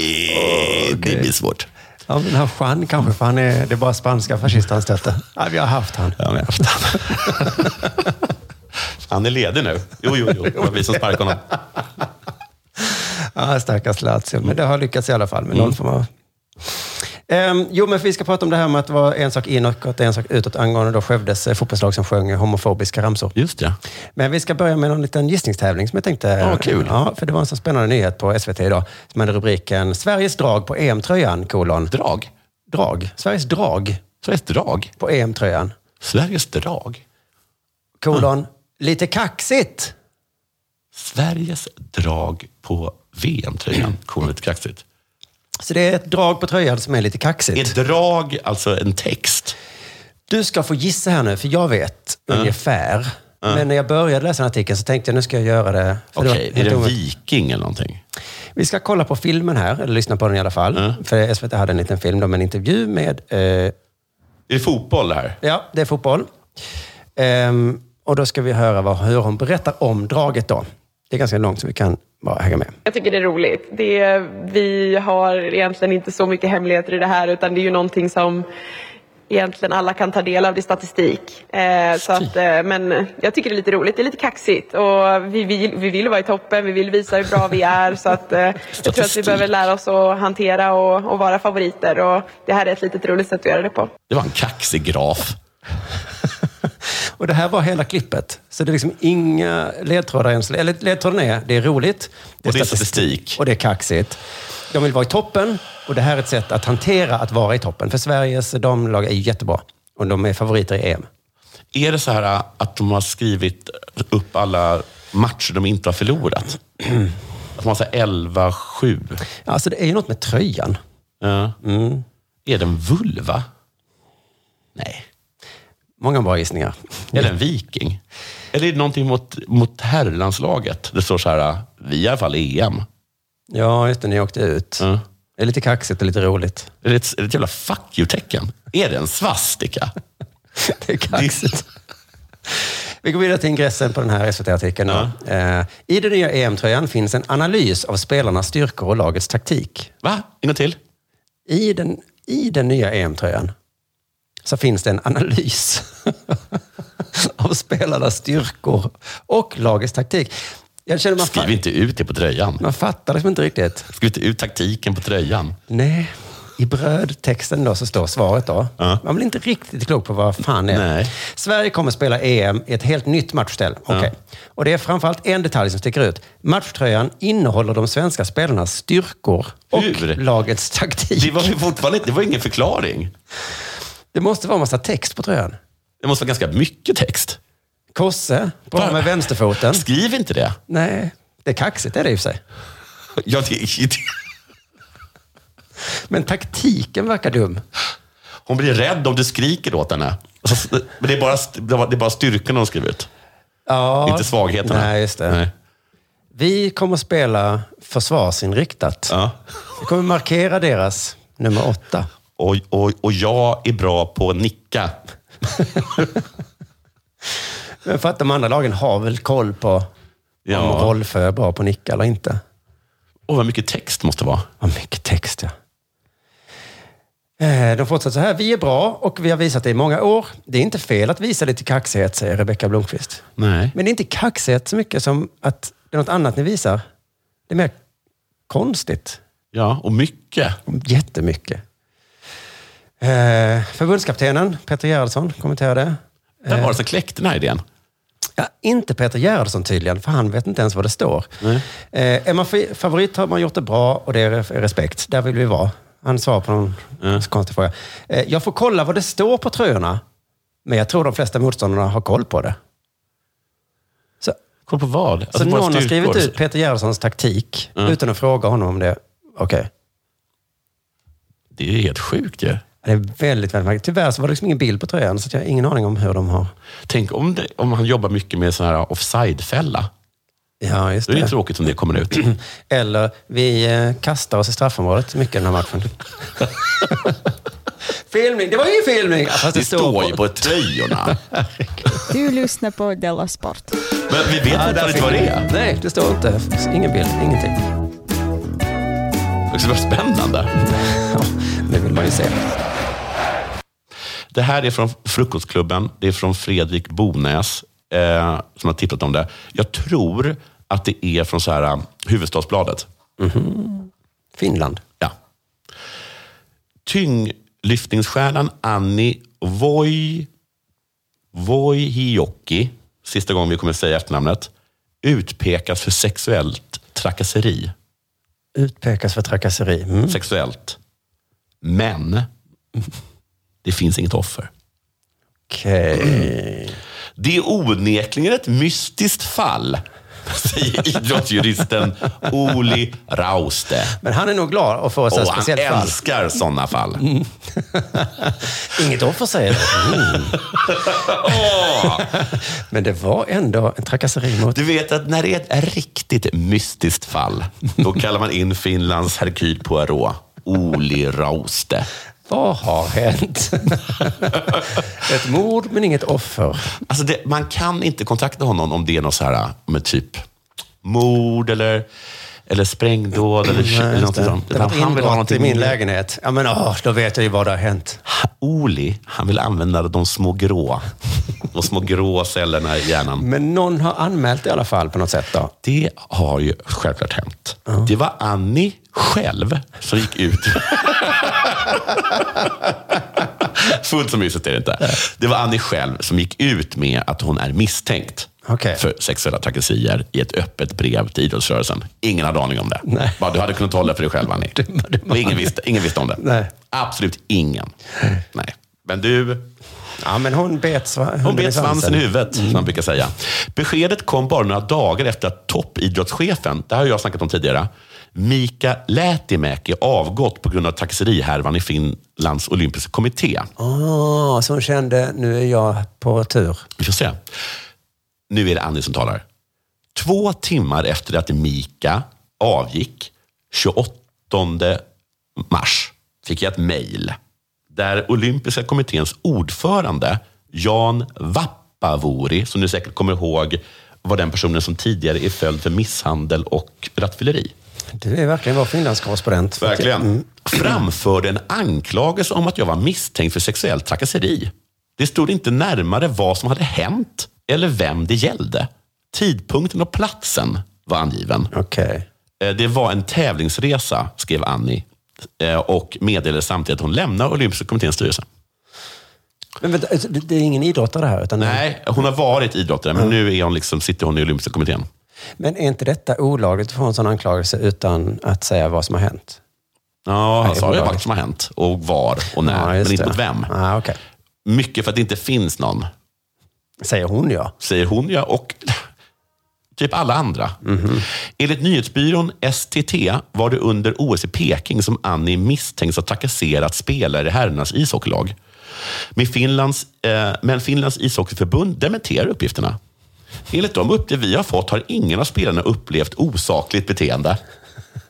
[SPEAKER 3] Det blir svårt.
[SPEAKER 4] Ja, men den här Juan kanske, för han är, det är bara spanska fascister han stöter. Ja, vi har haft han.
[SPEAKER 3] Ja, men jag har haft han. Han är ledig nu. Jo, jo, jo. Det var vi som sparkade honom.
[SPEAKER 4] Ja, stackars Lazio. Men det har lyckats i alla fall med
[SPEAKER 3] Mm.
[SPEAKER 4] någon form av... Ehm, jo, men vi ska prata om det här med att det var en sak inåt, en sak utåt angående då Skövdes eh, fotbollslag som sjöng homofobiska ramsor.
[SPEAKER 3] Just det.
[SPEAKER 4] Men vi ska börja med en liten gissningstävling som jag tänkte...
[SPEAKER 3] Ja, kul.
[SPEAKER 4] Ja, för det var en så spännande nyhet på SVT idag som hade rubriken Sveriges drag på EM-tröjan, kolon.
[SPEAKER 3] Drag.
[SPEAKER 4] Drag. Sveriges drag
[SPEAKER 3] Sveriges drag.
[SPEAKER 4] på EM-tröjan,
[SPEAKER 3] Sveriges drag.
[SPEAKER 4] kolon.
[SPEAKER 3] Ah.
[SPEAKER 4] Lite kaxigt!
[SPEAKER 3] Sveriges drag på VM-tröjan. Kommer lite kaxigt.
[SPEAKER 4] Så det är ett drag på tröjan som är lite kaxigt.
[SPEAKER 3] Är drag alltså en text?
[SPEAKER 4] Du ska få gissa här nu, för jag vet ungefär. Men när jag började läsa den här artikeln så tänkte jag nu ska jag göra det. för det
[SPEAKER 3] Okej,
[SPEAKER 4] var
[SPEAKER 3] är
[SPEAKER 4] helt
[SPEAKER 3] det en
[SPEAKER 4] omöjligt.
[SPEAKER 3] viking eller någonting?
[SPEAKER 4] Vi ska kolla på filmen här, eller lyssna på den i alla fall. För SVT hade en liten film då med en intervju med... Eh,
[SPEAKER 3] Är det fotboll det här?
[SPEAKER 4] ja, det är fotboll. Ehm, och då ska vi höra vad, hur hon berättar om draget då. Det är ganska långt så vi kan bara hänga med.
[SPEAKER 7] Jag tycker det är roligt. Det är, vi har egentligen inte så mycket hemligheter i det här utan det är ju någonting som egentligen alla kan ta del av. Det är statistik. Eh, så att, eh, men jag tycker det är lite roligt. Det är lite kaxigt och vi vill, vi vill vara i toppen. Vi vill visa hur bra vi är. Så att, eh, jag tror att vi
[SPEAKER 3] Statistik.
[SPEAKER 7] behöver lära oss att hantera och, och vara favoriter. Och det här är ett litet roligt sätt att göra det på.
[SPEAKER 3] Det var en kaxig graf.
[SPEAKER 4] Och det här var hela klippet. Så det är liksom inga ledtrådar än så- Eller ledtråden är, det är roligt.
[SPEAKER 3] Och det är statistik.
[SPEAKER 4] Och det är kaxigt. De vill vara i toppen och det här är ett sätt att hantera att vara i toppen. För Sveriges damlag är ju jättebra. Och de är favoriter i EM.
[SPEAKER 3] Är det så här äh, att de har skrivit upp alla matcher de inte har förlorat? Att man säger 11-7?
[SPEAKER 4] Alltså det är ju något med tröjan.
[SPEAKER 3] Ja. Är det en vulva? Nej.
[SPEAKER 4] Många bra gissningar.
[SPEAKER 3] Är det en viking? Eller är det någonting mot, mot herrlandslaget? Det står så här, äh, vi är i E alla fall EM.
[SPEAKER 4] Ja, just det. Ni åkte ut. Det är lite kaxigt och lite roligt.
[SPEAKER 3] Är det ett, är det ett jävla fuck you-tecken? Är det en svastika?
[SPEAKER 4] det är kaxigt. Vi går vidare till ingressen på den här SVT-artikeln. då. Eh, I den nya EM-tröjan finns en analys av spelarnas styrkor och lagets taktik.
[SPEAKER 3] Va? En gång till?
[SPEAKER 4] I den, I den nya EM-tröjan så finns det en analys av spelarnas styrkor och lagets taktik. Jag känner man,
[SPEAKER 3] Skriv inte ut det på tröjan.
[SPEAKER 4] man fattar liksom inte riktigt.
[SPEAKER 3] Skriv inte ut taktiken på tröjan.
[SPEAKER 4] Nej, i brödtexten då så står svaret då. Man blir inte riktigt klok på vad fan det är.
[SPEAKER 3] Nej.
[SPEAKER 4] Sverige kommer spela EM i ett helt nytt matchställ. Okej. Och det är framförallt en detalj som sticker ut. Matchtröjan innehåller de svenska spelarnas styrkor och
[SPEAKER 3] Hur?
[SPEAKER 4] lagets taktik.
[SPEAKER 3] Det var ju fortfarande det var ingen förklaring.
[SPEAKER 4] Det måste vara en massa text på tröjan.
[SPEAKER 3] Det måste vara ganska mycket text.
[SPEAKER 4] Kosse, bra med vänsterfoten.
[SPEAKER 3] Skriv inte det.
[SPEAKER 4] Nej, det är kaxigt är det i och för sig.
[SPEAKER 3] Ja, det, det.
[SPEAKER 4] Men taktiken verkar dum.
[SPEAKER 3] Hon blir rädd om du skriker åt henne. Alltså, Men det är bara, det är bara styrkorna hon skriver ut.
[SPEAKER 4] Ja,
[SPEAKER 3] Inte svagheterna.
[SPEAKER 4] Nej, just det.
[SPEAKER 3] Nej.
[SPEAKER 4] Vi kommer spela försvarsinriktat.
[SPEAKER 3] Ja.
[SPEAKER 4] Vi kommer markera deras nummer åtta.
[SPEAKER 3] Och, och, och jag är bra på att nicka.
[SPEAKER 4] Men för att de andra lagen har väl koll på om
[SPEAKER 3] Ja.
[SPEAKER 4] Rolfö är bra på att nicka eller inte.
[SPEAKER 3] Och vad mycket text måste det vara.
[SPEAKER 4] Vad mycket text, ja. Eh, De fortsätter så här. Vi är bra och vi har visat det i många år. Det är inte fel att visa lite kaxighet, säger Rebecka Blomqvist.
[SPEAKER 3] Nej.
[SPEAKER 4] Men det är inte kaxighet så mycket som att det är något annat ni visar. Det är mer konstigt.
[SPEAKER 3] Ja, och mycket.
[SPEAKER 4] Jättemycket. Eh, förbundskaptenen Peter Gerhardsson kommenterade.
[SPEAKER 3] Vem
[SPEAKER 4] Eh.
[SPEAKER 3] var det som kläckte den här idén?
[SPEAKER 4] Ja, inte Peter Gerhardsson tydligen, för han vet inte ens vad det står. Eh, är man fi- favorit har man gjort det bra och det är re- respekt. Där vill vi vara. Han svarar på någon konstig fråga. Eh, jag får kolla vad det står på tröjorna, men jag tror de flesta motståndarna har koll på det. Så,
[SPEAKER 3] Kolla på vad? Alltså,
[SPEAKER 4] så
[SPEAKER 3] bara
[SPEAKER 4] någon har
[SPEAKER 3] styrkor.
[SPEAKER 4] skrivit ut Peter Gerhardssons taktik utan att fråga honom om det. Okej.
[SPEAKER 3] Det är helt sjukt ju.
[SPEAKER 4] Det är väldigt, väldigt märkligt. Tyvärr så var det liksom ingen bild på tröjan, så att jag har ingen aning om hur de har...
[SPEAKER 3] Tänk om, det, om han jobbar mycket med sån här offside-fälla.
[SPEAKER 4] Ja, just
[SPEAKER 3] Då är det
[SPEAKER 4] det.
[SPEAKER 3] ju tråkigt om det kommer ut.
[SPEAKER 4] Eller, vi eh, kastar oss i straffområdet mycket den här matchen. filmning! Det var ju filmning! Ja, fast
[SPEAKER 3] Det står ju på tröjorna.
[SPEAKER 8] Du lyssnar på Della Sport.
[SPEAKER 3] Men vi vet fortfarande inte vad det är.
[SPEAKER 4] Nej, det står inte. Ingen bild, ingenting.
[SPEAKER 3] Det ska vara spännande.
[SPEAKER 4] Ja, det vill man ju se.
[SPEAKER 3] Det här är från Frukostklubben. Det är från Fredrik Bonäs eh, som har tippat om det. Jag tror att det är från så här, eh, Huvudstadsbladet.
[SPEAKER 4] Finland.
[SPEAKER 3] Ja. Tyngdlyftningsstjärnan Annie Voi, Voi Hioki, sista gången vi kommer säga efternamnet, utpekas för sexuellt trakasseri.
[SPEAKER 4] Utpekas för trakasseri. Mm.
[SPEAKER 3] Sexuellt. Men det finns inget offer.
[SPEAKER 4] Okej.
[SPEAKER 3] Det är onekligen ett mystiskt fall, säger idrottsjuristen Oli Rauste.
[SPEAKER 4] Men han är nog glad att få
[SPEAKER 3] Och
[SPEAKER 4] ett sådant
[SPEAKER 3] han
[SPEAKER 4] speciellt fall.
[SPEAKER 3] älskar sådana fall.
[SPEAKER 4] Inget offer säger det. Mm.
[SPEAKER 3] Åh!
[SPEAKER 4] Men det var ändå en trakasseri mot...
[SPEAKER 3] Du vet att när det är ett riktigt mystiskt fall, då kallar man in Finlands Hercule Poirot, Oli Rauste.
[SPEAKER 4] Vad har hänt? ett mord men inget offer.
[SPEAKER 3] Alltså det, man kan inte kontakta honom om det är något så här med typ mord eller, eller sprängdåd eller,
[SPEAKER 4] Nej,
[SPEAKER 3] eller
[SPEAKER 4] just
[SPEAKER 3] något
[SPEAKER 4] det.
[SPEAKER 3] sånt.
[SPEAKER 4] Det var ett
[SPEAKER 3] Han vill ha
[SPEAKER 4] inbrott i
[SPEAKER 3] någonting
[SPEAKER 4] min
[SPEAKER 3] mer.
[SPEAKER 4] lägenhet. Ja, men åh, då vet jag ju vad det har hänt.
[SPEAKER 3] Oli, han vill använda de små grå. De små grå cellerna i hjärnan.
[SPEAKER 4] Men någon har anmält i alla fall på något sätt då.
[SPEAKER 3] Det har ju självklart hänt. Det var Annie själv som gick ut. Fullt så mysigt är det inte. Det var Annie själv som gick ut med att hon är misstänkt
[SPEAKER 4] Okej.
[SPEAKER 3] för sexuella trakasserier i ett öppet brev till idrottsrörelsen. Ingen hade aning om det. Bara, du hade kunnat hålla det för dig själv, Annie. Och ingen, visste, ingen visste om det.
[SPEAKER 4] Nej.
[SPEAKER 3] Absolut ingen. Nej. Men du,
[SPEAKER 4] Ja, men hon bet, sva-
[SPEAKER 3] Hon bet svansen i
[SPEAKER 4] huvudet.
[SPEAKER 3] huvudet, som man brukar säga. Beskedet kom bara några dagar efter att toppidrottschefen, det här har jag snackat om tidigare, Mika Lätimäki avgått på grund av taxerihärvan i Finlands olympiska kommitté.
[SPEAKER 4] Ah, så hon kände, nu är jag på tur.
[SPEAKER 3] Vi får se. Nu är det Annie som talar. Två timmar efter att Mika avgick, 28 mars, fick jag ett mejl där olympiska kommitténs ordförande Jan Vappavori, som ni säkert kommer ihåg var den personen som tidigare är följd för misshandel och rattfylleri.
[SPEAKER 4] Du är verkligen vår Finlandskorrespondent.
[SPEAKER 3] Verkligen.
[SPEAKER 4] Mm.
[SPEAKER 3] Framförde en anklagelse om att jag var misstänkt för sexuell trakasseri. Det stod inte närmare vad som hade hänt eller vem det gällde. Tidpunkten och platsen var angiven.
[SPEAKER 4] Okej.
[SPEAKER 3] Eh, Det var en tävlingsresa, skrev Annie eh, och meddelade samtidigt att hon lämnar Olympiska kommitténs styrelse.
[SPEAKER 4] Mm. Men vänta, alltså, det- det är ingen idrottare här? Utan
[SPEAKER 3] Nej, hon har varit idrottare,
[SPEAKER 4] Mm.
[SPEAKER 3] men nu är hon liksom, sitter hon i Olympiska kommittén.
[SPEAKER 4] Men är inte detta olagligt att få en sån anklagelse utan att säga vad som har hänt?
[SPEAKER 3] Ja, han
[SPEAKER 4] Nej,
[SPEAKER 3] sa ju
[SPEAKER 4] olagligt.
[SPEAKER 3] vad som har hänt och var och när,
[SPEAKER 4] Ja, just
[SPEAKER 3] men inte
[SPEAKER 4] det.
[SPEAKER 3] mot vem.
[SPEAKER 4] Ah, okay.
[SPEAKER 3] Mycket för att det inte finns någon.
[SPEAKER 4] Säger hon ja.
[SPEAKER 3] Säger hon ja, och typ alla andra. Enligt nyhetsbyrån STT var det under OS i Peking som Annie misstänks ha trakasserat spelare i herrarnas ishockeylag. Men Finlands, eh, men Finlands ishockeyförbund dementerar uppgifterna. Enligt de uppgifter vi har fått har ingen av spelarna upplevt osakligt beteende.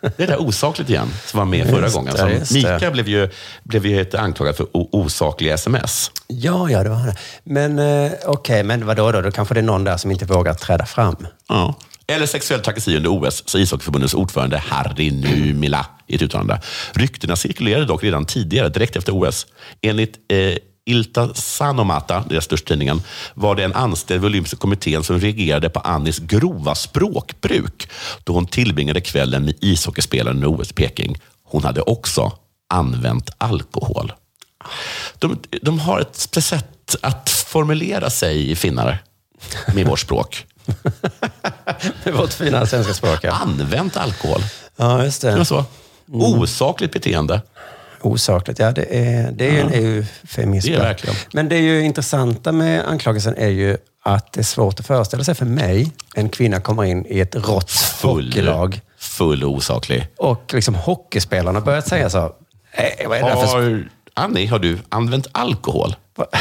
[SPEAKER 3] Det är det där osakligt igen, som var med förra
[SPEAKER 4] Just
[SPEAKER 3] gången.
[SPEAKER 4] det,
[SPEAKER 3] Som
[SPEAKER 4] just det.
[SPEAKER 3] Mika blev ju, blev ju anklagad för o- osakliga sms.
[SPEAKER 4] Ja, ja, det var det. Men eh, okej, men vadå då? Då kanske det är någon där som inte vågar träda fram.
[SPEAKER 3] Ja. Eller sexuell trakasserier under OS, sa ishockeyförbundets ordförande Harry Numila i ett uttalande. Ryktena cirkulerade dock redan tidigare, direkt efter OS. Enligt eh, Ilta Sanomata, deras största tidningen, var det en anställd vid Olympiska kommittén som reagerade på Annis grova språkbruk då hon tillbringade kvällen med ishockeyspelaren under OS i Peking. Hon hade också använt alkohol. De, de har ett sätt att formulera sig, finnare, med vårt språk.
[SPEAKER 4] Vårt fina svenska språk, ja.
[SPEAKER 3] Använt alkohol.
[SPEAKER 4] Ja, Mm. just
[SPEAKER 3] Det var
[SPEAKER 4] det.
[SPEAKER 3] så. Osakligt beteende.
[SPEAKER 4] Osakligt, ja. Det är, det är ju en EU-feminism.
[SPEAKER 3] Det är verkligen.
[SPEAKER 4] Men det är ju intressanta med anklagelsen är ju att det är svårt att föreställa sig för mig, en kvinna kommer in i ett rått hockeylag
[SPEAKER 3] Full osaklig.
[SPEAKER 4] och liksom hockeyspelarna börjar säga så. "Nej, Vad är det där för språk?"
[SPEAKER 3] Har, Annie, har du använt alkohol?
[SPEAKER 4] Vad,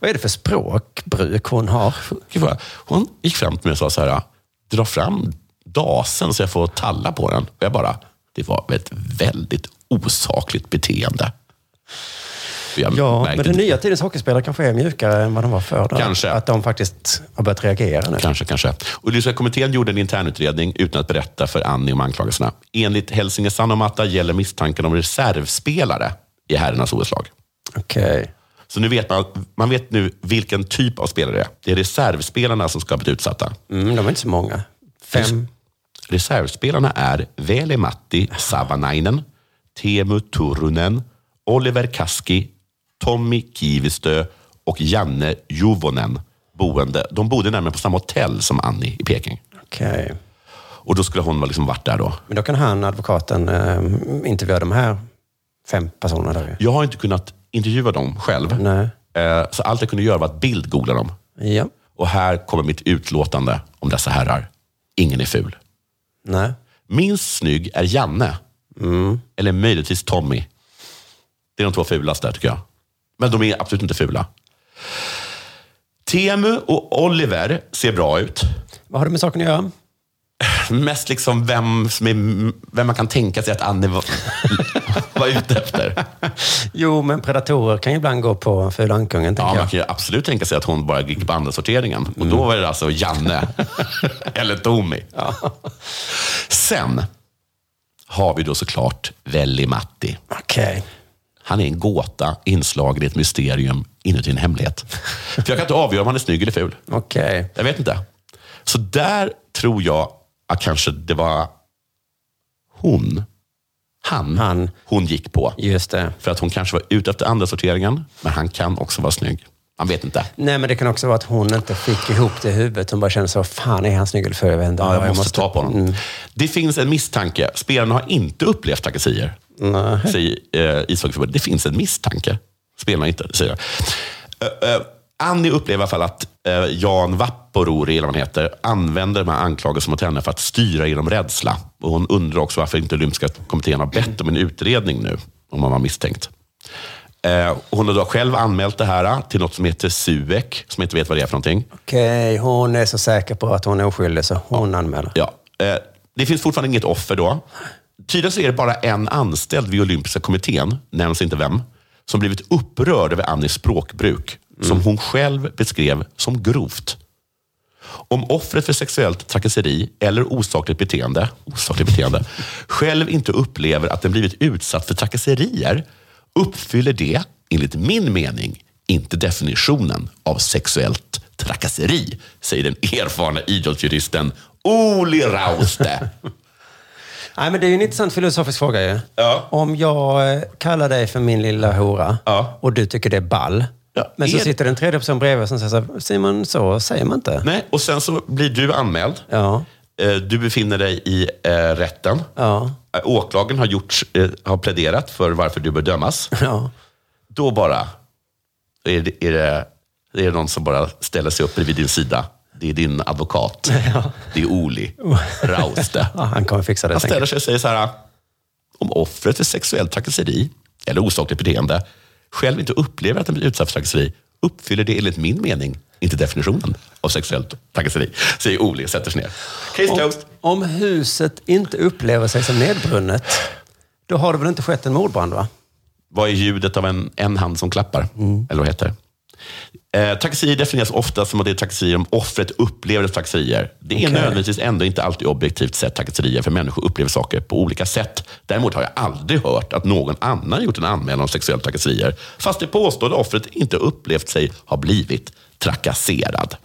[SPEAKER 4] vad är det för språkbruk hon har?
[SPEAKER 3] Gud, vad- Hon gick fram till mig och sa så här, dra fram dasen så jag får talla på den. Och jag bara, det var ett väldigt osakligt beteende. Och Jag
[SPEAKER 4] Ja,
[SPEAKER 3] märkte
[SPEAKER 4] men den nya tidens hockeyspelare kanske är mjukare än vad de var förr. då.
[SPEAKER 3] Kanske.
[SPEAKER 4] Att de faktiskt har börjat reagera nu.
[SPEAKER 3] Kanske, kanske. Olympiska kommittén gjorde en internutredning utan att berätta för Annie om anklagelserna. Enligt Helsingin Sanomatta gäller misstanken om reservspelare i herrarnas OS-lag.
[SPEAKER 4] Okej.
[SPEAKER 3] Så nu vet man, man vet nu vilken typ av spelare det är. Det är reservspelarna som ska ha blivit utsatta.
[SPEAKER 4] Mm, de är inte så många. Fem.
[SPEAKER 3] Reservspelarna är Veli-Matti Savanainen, Teemu Turunen, Oliver Kaski, Tommy Kivistö och Janne Juvonen. Boende. De bodde nämligen på samma hotell som Annie i Peking.
[SPEAKER 4] Okej.
[SPEAKER 3] Och då skulle hon ha liksom varit där då.
[SPEAKER 4] Men då kan han, advokaten, eh, intervjua de här fem personerna där ju.
[SPEAKER 3] Jag har inte kunnat intervjua dem själv.
[SPEAKER 4] Nej.
[SPEAKER 3] Eh, Så allt jag kunde göra var att bildgoogla dem.
[SPEAKER 4] Ja.
[SPEAKER 3] Och här kommer mitt utlåtande om dessa herrar. Ingen är ful.
[SPEAKER 4] Nej.
[SPEAKER 3] Minst snygg är Janne. Eller möjligtvis Tommy. Det är de två fulaste tycker jag. Men de är absolut inte fula. Temu och Oliver ser bra ut.
[SPEAKER 4] Vad har det med saken att göra?
[SPEAKER 3] Mest liksom vem, som är, vem man kan tänka sig att Annie var, var ute efter.
[SPEAKER 4] Jo, men predatorer kan ju ibland gå på fulankungen,
[SPEAKER 3] Ja,
[SPEAKER 4] tänker
[SPEAKER 3] man kan ju absolut tänka sig att hon bara gick på andra sorteringen. Och då var det alltså Janne eller Tommy. Sen har vi då såklart Velli-Matti.
[SPEAKER 4] jag. Okej.
[SPEAKER 3] Han är en gåta inslagen i ett mysterium inuti en hemlighet. För jag kan inte avgöra om han är snygg eller ful.
[SPEAKER 4] Okej.
[SPEAKER 3] Jag vet inte. Så där tror jag att kanske det var hon, han,
[SPEAKER 4] Han.
[SPEAKER 3] hon gick på.
[SPEAKER 4] Just det.
[SPEAKER 3] För att hon kanske var ute efter andra sorteringen, men han kan också vara snygg. Man vet inte.
[SPEAKER 4] Nej, men det kan också vara att hon inte fick ihop det i huvudet. Hon bara kände så, fan är han snygg eller ful? Jag vet inte.
[SPEAKER 3] Ja, jag måste, Mm. ta på honom. Det finns en misstanke. Spelarna har inte upplevt trakasserier,
[SPEAKER 4] Nej.
[SPEAKER 3] säger eh, ishockeyförbundet. Det finns en misstanke. Spelarna inte, säger jag. Eh, eh, Annie upplever i alla fall att eh, Jan Vapporori, eller vad han heter, använder de här anklagelserna mot henne för att styra genom rädsla. Och hon undrar också varför inte Olympiska kommittén har bett om en utredning nu, om man var misstänkt. Eh, Hon har då själv anmält det här eh, till något som heter SUEK, som jag inte vet vad det är för någonting.
[SPEAKER 4] Okej, hon är så säker på att hon är oskyldig så hon anmäler.
[SPEAKER 3] Ja. Eh, det finns fortfarande inget offer då. Tydligen så är det bara en anställd vid Olympiska kommittén, nämns inte vem, som blivit upprörd över Annies språkbruk, som hon själv beskrev som grovt. Om offret för sexuellt trakasseri eller osakligt beteende, osakligt beteende själv inte upplever att den blivit utsatt för trakasserier uppfyller det, enligt min mening, inte definitionen av sexuellt trakasseri, säger den erfarna idrottsjuristen Oli Rauste.
[SPEAKER 4] Nej, men det är ju en intressant filosofisk fråga ju. Om jag eh, kallar dig för min lilla hora och du tycker det är ball. men så
[SPEAKER 3] är-
[SPEAKER 4] sitter den tredje person bredvid och som säger så här, Simon, så säger man inte.
[SPEAKER 3] Nej, och sen så blir du anmäld. Eh, Du befinner dig i eh, rätten.
[SPEAKER 4] Ja.
[SPEAKER 3] Eh, Åklagaren har, gjort, eh, har pläderat för varför du bör dömas. Då bara är det, är, det, är det någon som bara ställer sig upp bredvid din sida. Det är din advokat. Det är Oli Rauste.
[SPEAKER 4] Ja, han kommer fixa det.
[SPEAKER 3] Han ställer
[SPEAKER 4] tänker
[SPEAKER 3] sig och säger så här. Om offret för sexuellt trakasseri eller osakligt beteende själv inte upplever att den blir utsatt för trakasseri uppfyller det enligt min mening inte definitionen av sexuellt trakasseri. Säger Oli och sätter sig ner. Case
[SPEAKER 4] jag.
[SPEAKER 3] closed.
[SPEAKER 4] Om, om huset inte upplever sig som nedbrunnet, då har det väl inte skett en mordbrand, va?
[SPEAKER 3] Vad är ljudet av en, en hand som klappar? Eller vad heter det? Eh, trakasserier definieras ofta som att det är trakasserier om offret upplever trakasserier. Det är
[SPEAKER 4] Okej.
[SPEAKER 3] nödvändigtvis ändå inte alltid objektivt sett trakasserier, för människor upplever saker på olika sätt. Däremot har jag aldrig hört att någon annan gjort en anmälan om sexuella trakasserier, fast det påstådda offret inte upplevt sig ha blivit trakasserad.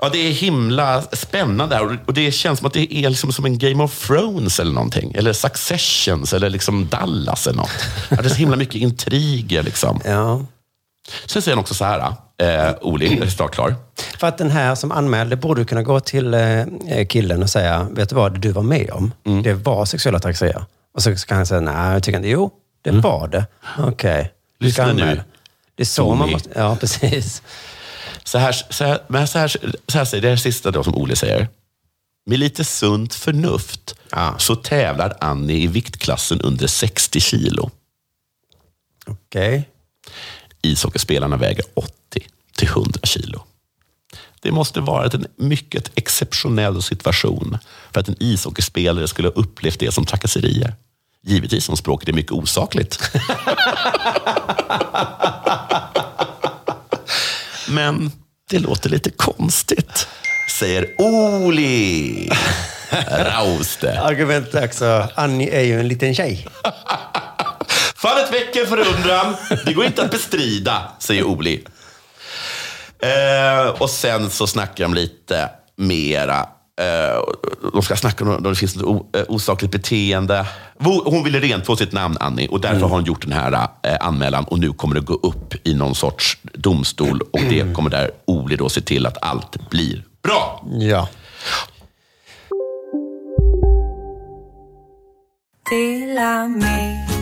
[SPEAKER 3] Ja, det är himla spännande här och- och det känns som att det är liksom som en Game of Thrones eller någonting. Eller Successions eller liksom Dallas eller något. Ja, det är så himla mycket intriger liksom. Sen säger han också så här, eh, Oli, jag är snart klar.
[SPEAKER 4] För att den här som anmälde borde kunna gå till eh, killen och säga, vet du vad, det du var med om, det var sexuella trakasserier. Och så kan han säga, nej, jag tycker inte, jo, det var det. Okej. du ska
[SPEAKER 3] Lyssna nu,
[SPEAKER 4] anmäla." Det är så
[SPEAKER 3] Tony.
[SPEAKER 4] man måste... Ja, precis.
[SPEAKER 3] Så här, så här, men så här, så här säger det här sista då som Oli säger. Med lite sunt förnuft så tävlar Annie i viktklassen under 60 kilo.
[SPEAKER 4] Okej.
[SPEAKER 3] Ishockeyspelarna väger 80 till 100 kilo. Det måste varit en mycket exceptionell situation för att en ishockeyspelare skulle ha upplevt det som trakasserier. Givetvis som språket är mycket osakligt. Men det låter lite konstigt, säger Oli Rauste.
[SPEAKER 4] Argumentet är också, Annie är ju en liten tjej.
[SPEAKER 3] Fallet väcker förundran. Det går inte att bestrida, säger Oli. Eh, och sen så snackar de lite mera. Eh, de ska snacka om om det finns något o- eh, osakligt beteende. Vo- Hon ville rentvå sitt namn, Annie, och därför
[SPEAKER 9] Mm.
[SPEAKER 3] har hon gjort den här eh, anmälan. Och nu kommer det gå upp i någon sorts domstol och
[SPEAKER 9] Mm.
[SPEAKER 3] det kommer där Oli då se till att allt blir bra.
[SPEAKER 4] Ja.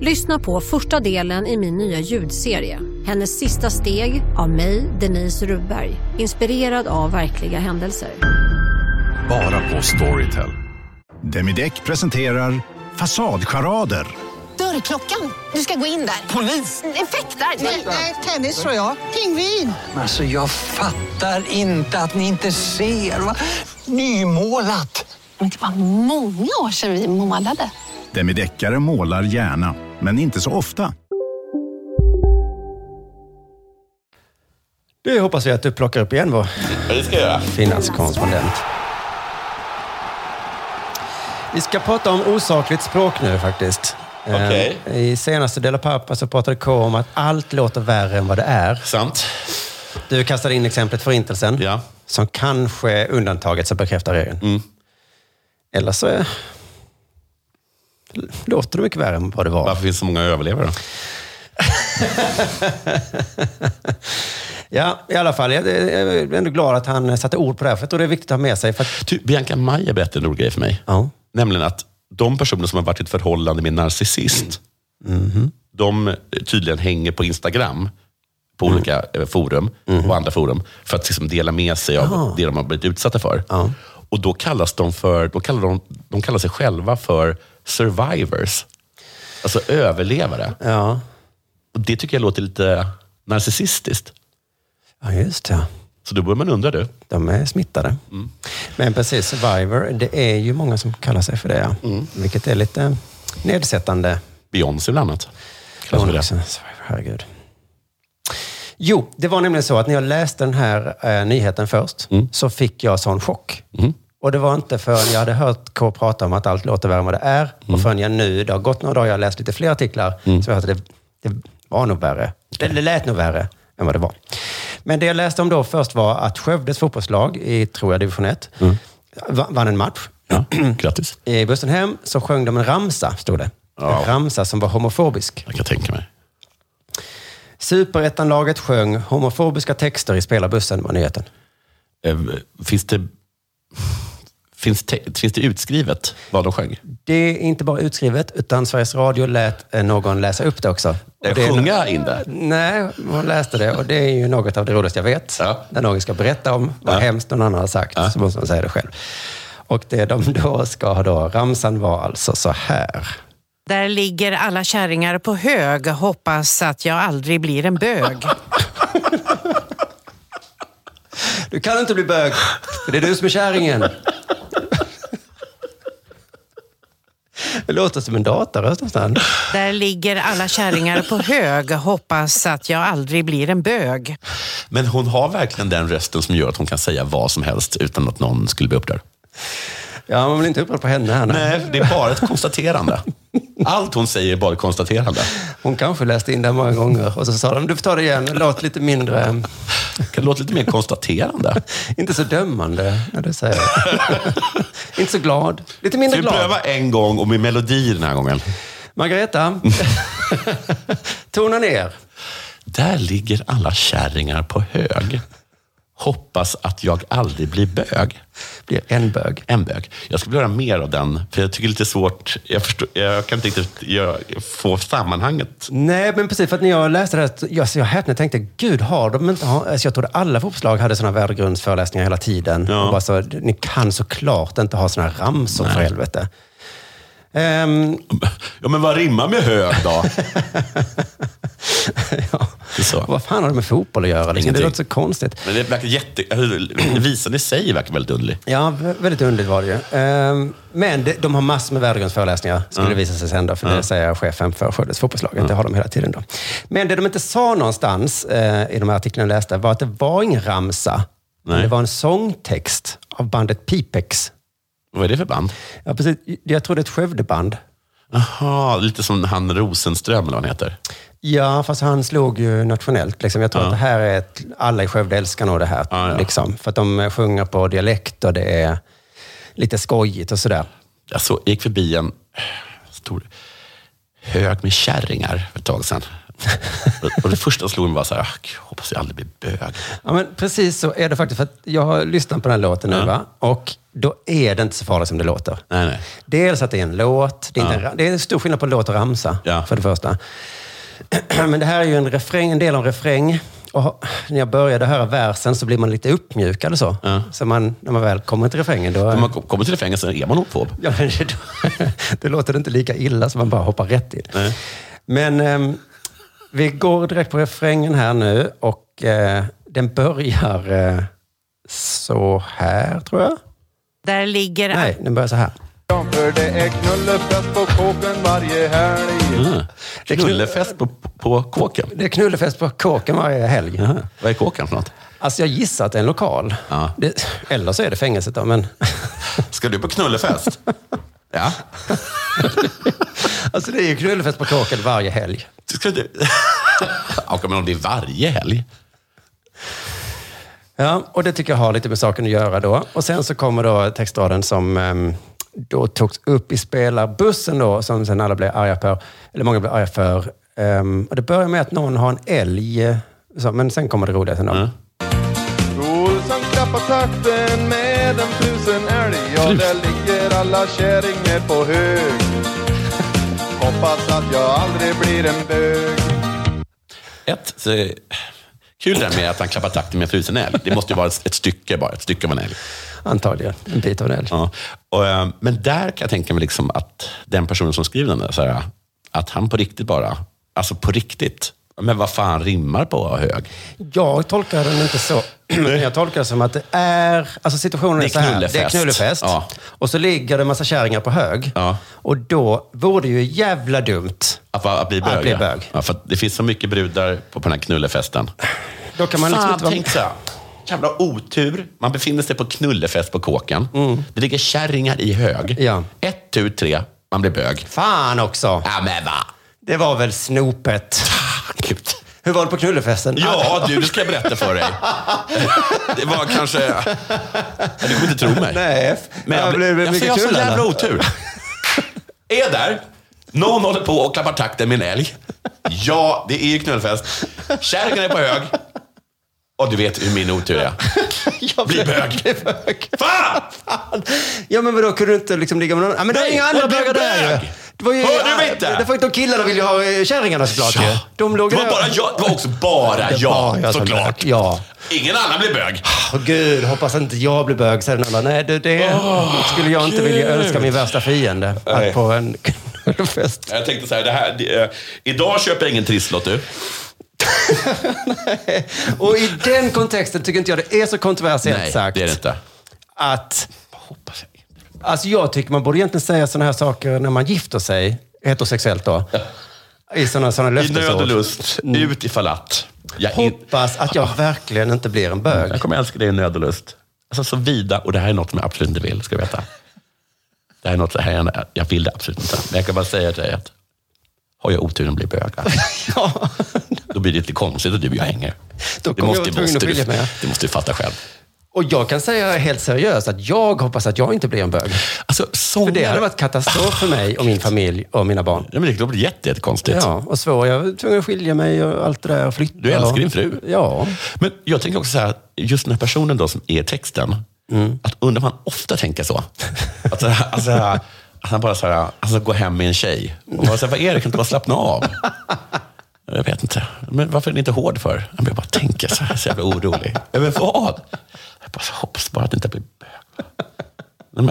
[SPEAKER 10] Lyssna på första delen i min nya ljudserie. Hennes sista steg av mig, Denise Rubberg. Inspirerad av verkliga händelser.
[SPEAKER 9] Bara på Storytel.
[SPEAKER 11] Demideck presenterar Fasadcharader.
[SPEAKER 12] Dörrklockan. Du ska gå in där. Polis? Effektar? Nej, tennis tror jag. Pingvin.
[SPEAKER 13] Alltså jag fattar inte att ni inte ser. Va? Nymålat.
[SPEAKER 12] Men det var många år sedan vi målade.
[SPEAKER 11] Demideckare målar gärna, men inte så ofta.
[SPEAKER 4] Det hoppas vi att du plockar upp igen vår
[SPEAKER 3] Ja, det ska jag göra.
[SPEAKER 4] finanskorrespondent. Vi ska prata om osakligt språk nu faktiskt.
[SPEAKER 3] Okej.
[SPEAKER 4] Eh, I senaste Dela Pappa så pratade K om att allt låter värre än vad det är.
[SPEAKER 3] Sant.
[SPEAKER 4] Du kastade in exemplet Förintelsen.
[SPEAKER 3] Ja. Mm.
[SPEAKER 4] som kanske är undantaget som bekräftar regeln. Eller så är, låter det mycket värre än vad det var.
[SPEAKER 3] Varför finns det så många överlevare?
[SPEAKER 4] Ja, i alla fall. Jag jag är ändå glad att han satte ord på det här, för jag tror det är viktigt att ha med sig. För att...
[SPEAKER 3] Du, Typ, Bianca Maja berättade en rolig grej för mig. Nämligen att de personer som har varit i ett förhållande med en narcissist, Mhm. de eh, tydligen hänger på Instagram, på olika eh, forum och andra forum, för att liksom dela med sig av
[SPEAKER 4] Ah.
[SPEAKER 3] det de har blivit utsatta för. Och då kallas de för, då kallar de, de kallar sig själva för survivors. Alltså överlevare.
[SPEAKER 4] Ja.
[SPEAKER 3] Och det tycker jag låter lite narcissistiskt.
[SPEAKER 4] Ja, just det.
[SPEAKER 3] Så då börjar man undra du.
[SPEAKER 4] De är smittade. Men precis, survivor, det är ju många som kallar sig för det. Ja. Vilket är lite nedsättande.
[SPEAKER 3] Beyoncé bland annat.
[SPEAKER 4] Kallas för det. Survivor, herregud. Jo, det var nämligen så att när jag läste den här eh, nyheten först så fick jag sån chock. Och det var inte förrän jag hade hört K prata om att allt låter värre än vad det är och förrän jag nu, det har gått några dagar, jag har läst lite fler artiklar, så jag hörde att det, det var nog värre. Det, det lät nog värre än vad det var. Men det jag läste om då först var att Skövdes fotbollslag i, tror jag, division 1 va- vann en match.
[SPEAKER 3] Ja, grattis.
[SPEAKER 4] I bussen hem så sjöng de en ramsa, stod det. En ramsa som var homofobisk.
[SPEAKER 3] Jag kan tänka mig.
[SPEAKER 4] Superettanlaget sjöng homofobiska texter i spelarbussen, var nyheten.
[SPEAKER 3] Eh, Finns det, finns, te, finns det utskrivet vad de sjöng?
[SPEAKER 4] Det är inte bara utskrivet, utan Sveriges Radio lät eh, någon läsa upp det också. Och
[SPEAKER 3] Eh,
[SPEAKER 4] det är no-
[SPEAKER 3] Sjunga in det?
[SPEAKER 4] Nej, hon läste det och det är ju något av det roligaste jag vet. När någon ska berätta om vad hemskt någon annan har sagt, så måste man säga det själv. Och det de då ska ha då, ramsan var alltså så här.
[SPEAKER 14] Där ligger alla kärringar på hög. Hoppas att jag aldrig blir en bög.
[SPEAKER 4] Du kan inte bli bög, för det är du som är kärringen. Det låter som en dataröst nästan.
[SPEAKER 14] Där ligger alla kärringar på hög. Hoppas att jag aldrig blir en bög.
[SPEAKER 3] Men hon har verkligen den rösten som gör att hon kan säga vad som helst utan att någon skulle bli upprörd.
[SPEAKER 4] Ja, man blir inte upprörd på henne här.
[SPEAKER 3] Nej, det är bara ett konstaterande. Allt hon säger är bara ett konstaterande.
[SPEAKER 4] Hon kanske läste in det många gånger och så sa de, du får ta det igen, låt lite mindre...
[SPEAKER 3] Kan det låta lite mer konstaterande?
[SPEAKER 4] inte så dömande när du säger det. inte så glad, lite mindre
[SPEAKER 3] Ska vi
[SPEAKER 4] glad.
[SPEAKER 3] pröva en gång och med melodi den här gången?
[SPEAKER 4] Margareta, tona ner.
[SPEAKER 3] Där ligger alla kärringar på hög. Hoppas att jag aldrig blir bög.
[SPEAKER 4] Blir en bög.
[SPEAKER 3] En bög. Jag skulle vilja höra mer av den, för jag tycker det är lite svårt. Jag, förstår, jag kan inte riktigt jag, få sammanhanget.
[SPEAKER 4] Nej, men precis. För att när jag läste det här, så- jag, så jag häpnade och tänkte, gud, har de inte... Har, alltså jag trodde alla fotbollslag hade sådana värdegrundsföreläsningar hela tiden. Och bara så, ni kan såklart inte ha sådana här ramsor, för helvete. Ehm,
[SPEAKER 3] Ja, men vad rimmar med hög då?
[SPEAKER 4] Vad fan har det med fotboll att göra? Liksom? Det
[SPEAKER 3] Ingenting.
[SPEAKER 4] låter så konstigt.
[SPEAKER 3] Men det verkar jätte... alltså, Visan i sig verkar väldigt underlig.
[SPEAKER 4] Ja, vä- väldigt underligt var det ju. Ehm, Men det- de har massor med värdegrundsföreläsningar, skulle det visa sig sen. Då, för det säger chefen för Skövdes fotbollslag, att det har de hela tiden. Då. Men det de inte sa någonstans eh, i de här artiklarna jag läste var att det var ingen ramsa. Men
[SPEAKER 3] Nej.
[SPEAKER 4] det var en sångtext av bandet Pipex.
[SPEAKER 3] Vad är det för band?
[SPEAKER 4] Ja, precis. Jag tror det är ett Skövdeband.
[SPEAKER 3] Jaha, lite som han Rosenström eller vad han heter.
[SPEAKER 4] Ja, fast han slog ju nationellt. Liksom. Jag tror att det här är ett, alla i Skövde älskar nog det här. Liksom. För att de sjunger på dialekt och det är lite skojigt och sådär.
[SPEAKER 3] Alltså, Jag så, gick förbi en stor hög med kärringar för ett tag sedan. Och det första som slog mig var så här, "Ah, gud, hoppas jag aldrig blir bög.
[SPEAKER 4] Ja, men precis så är det faktiskt. För att jag har lyssnat på den här låten nu va? och då är det inte så farligt som det låter.
[SPEAKER 3] Nej, nej.
[SPEAKER 4] Dels att det är en låt. Det är, inte en,
[SPEAKER 3] Ja.
[SPEAKER 4] ra- det är en stor skillnad på låt och ramsa, för det första. Men det här är ju en, refräng, en del av en refräng. Och när jag började höra versen så blir man lite uppmjukad och så. Så man, när man väl kommer till refrängen, då...
[SPEAKER 3] När man kom- kommer till refrängen så är man homofob.
[SPEAKER 4] Ja, men det, då, då låter det inte lika illa som man bara hoppar rätt in. Men ehm, vi går direkt på refrängen här nu och eh, den börjar eh, så här, tror jag.
[SPEAKER 14] Där ligger...
[SPEAKER 4] Nej, den börjar så här.
[SPEAKER 15] För det är knullefest på kåken varje helg.
[SPEAKER 4] Det är
[SPEAKER 3] Knullefest på, på kåken?
[SPEAKER 4] Det är knullefest på kåken varje helg.
[SPEAKER 3] Vad är kåken för något?
[SPEAKER 4] Alltså jag gissar att det är en lokal. Det, eller så är det fängelset då, men...
[SPEAKER 3] Ska du på knullefest? ja.
[SPEAKER 4] alltså det är ju knullefest på kåken varje helg.
[SPEAKER 3] Ska du... Ja, men om det är varje helg?
[SPEAKER 4] Ja, och det tycker jag har lite med saken att göra då. Och sen så kommer då textraden som ehm, då togs upp i spelarbussen då, som sen alla blev arga på. Eller många blev arga för. Ehm, och det börjar med att någon har en älg. eh, Så, men sen kommer det roliga sen då.
[SPEAKER 15] Olsson klappar takten med en frusen älg. Ja, där ligger alla kärringar på hög. Hoppas att jag aldrig blir en bög.
[SPEAKER 3] Ett, så, kul det här med att han klappar takten med en frusen älg. Det måste ju vara ett, ett stycke bara, ett stycke av en älg.
[SPEAKER 4] Antagligen. En bit av en älg.
[SPEAKER 3] Ja. Och, eh, men där kan jag tänka mig liksom att den personen som skriver den, där, så här, att han på riktigt bara, alltså på riktigt, men vad fan rimmar på hög?
[SPEAKER 4] Jag tolkar den inte så. Jag tolkar det som att det är... Alltså situationen
[SPEAKER 3] Det
[SPEAKER 4] är,
[SPEAKER 3] är
[SPEAKER 4] så här.
[SPEAKER 3] knullefest.
[SPEAKER 4] Det är knullefest.
[SPEAKER 3] Ja.
[SPEAKER 4] Och så ligger det en massa kärringar på hög. Och då vore det ju jävla dumt.
[SPEAKER 3] Att, vara- att bli
[SPEAKER 4] Att
[SPEAKER 3] bög?
[SPEAKER 4] bli
[SPEAKER 3] ja.
[SPEAKER 4] bög.
[SPEAKER 3] Ja, för att det finns så mycket brudar på, på den här knullefesten.
[SPEAKER 4] Då kan man
[SPEAKER 3] Fan,
[SPEAKER 4] liksom inte vara...
[SPEAKER 3] tänk så här. Jävla otur. Man befinner sig på knullefest på kåken.
[SPEAKER 4] Mm.
[SPEAKER 3] Det ligger kärringar i hög. Ett, tu, tre. Man blir bög.
[SPEAKER 4] Fan också!
[SPEAKER 3] Ja, men va?
[SPEAKER 4] Det var väl snopet.
[SPEAKER 3] Gud.
[SPEAKER 4] Hur var det på knullefesten?
[SPEAKER 3] Ja, du, det ska jag berätta för dig. Det var kanske... Ja, Du kommer inte tro mig.
[SPEAKER 4] Nej,
[SPEAKER 3] men jag,
[SPEAKER 4] det blev
[SPEAKER 3] jag,
[SPEAKER 4] mycket
[SPEAKER 3] jag har så
[SPEAKER 4] kul,
[SPEAKER 3] jävla
[SPEAKER 4] Anna.
[SPEAKER 3] otur. Är där, någon håller på och klappar takten med en älg. Ja, det är ju knullfest. Kärringen är på hög. Och du vet hur min otur är. Bli bög. Fan!
[SPEAKER 4] Ja, men vadå, kunde du inte liksom ligga med någon? Ja, men det är
[SPEAKER 13] Nej,
[SPEAKER 4] inga
[SPEAKER 13] och
[SPEAKER 4] andra
[SPEAKER 13] du är
[SPEAKER 4] bögar där
[SPEAKER 13] bög!
[SPEAKER 4] ju. Det var ju...
[SPEAKER 13] Hör du inte?
[SPEAKER 4] Det var ju de killarna ville ju ha eh, kärringarna såklart ju. De låg
[SPEAKER 3] det var
[SPEAKER 4] där.
[SPEAKER 3] bara jag. Det var också bara
[SPEAKER 4] Det var
[SPEAKER 3] jag,
[SPEAKER 4] jag som
[SPEAKER 3] såklart.
[SPEAKER 4] bög, Ja.
[SPEAKER 3] Ingen annan blir bög.
[SPEAKER 4] Åh gud, hoppas inte jag blir bög, säger den andra. Nej, det, det
[SPEAKER 3] Åh,
[SPEAKER 4] skulle jag inte vilja
[SPEAKER 3] gud.
[SPEAKER 4] önska min värsta fiende.
[SPEAKER 3] Nej.
[SPEAKER 4] Att på en knullfest.
[SPEAKER 3] Jag tänkte så här, det här det, eh, idag köper jag ingen trisslott du.
[SPEAKER 4] Och i den kontexten tycker inte jag det är så kontroversiellt
[SPEAKER 3] Nej,
[SPEAKER 4] sagt.
[SPEAKER 3] det är det inte.
[SPEAKER 4] Att... Alltså jag tycker man borde egentligen säga sådana här saker när man gifter sig, heterosexuellt då. I sådana, sådana
[SPEAKER 3] I nöd och
[SPEAKER 4] löftesord.
[SPEAKER 3] lust,
[SPEAKER 4] Mm.
[SPEAKER 3] ut i fallatt. Jag, in,
[SPEAKER 4] Hoppas att jag verkligen inte blir en bög.
[SPEAKER 3] jag kommer älska dig i nöd och lust. Alltså så vida, och det här är något som jag absolut inte vill, ska du veta. Det här är något, det här är, jag vill det absolut inte. Men jag kan bara säga till dig att har jag oturen att bli bög, alltså, då blir det lite konstigt att du och jag hänger.
[SPEAKER 4] Då
[SPEAKER 3] Det
[SPEAKER 4] kommer jag vara tvungen att
[SPEAKER 3] måste,
[SPEAKER 4] skilja
[SPEAKER 3] du,
[SPEAKER 4] mig.
[SPEAKER 3] det måste du fatta själv.
[SPEAKER 4] Och jag kan säga helt seriöst att jag hoppas att jag inte blir en bög.
[SPEAKER 3] Alltså,
[SPEAKER 4] För det hade varit katastrof för mig och min familj och mina barn.
[SPEAKER 3] Ja, men det låter jätte, jättekonstigt.
[SPEAKER 4] Ja, och svår. Jag var tvungen att skilja mig och allt det där. och Flytta.
[SPEAKER 3] Du älskar din fru.
[SPEAKER 4] Ja.
[SPEAKER 3] Men jag tänker också så här, just den här personen då som är texten, att undrar om han ofta tänker så. Att, så här, alltså, så här, att han bara så här, alltså, går hem med en tjej. Och bara så här, vad är det? Kan du bara slappna av? Jag vet inte. Men varför är ni inte hård för? Jag bara tänker så här, så jävla orolig. Ja, Men vad? Jag bara, så hoppas bara att det inte blir bög. Nej,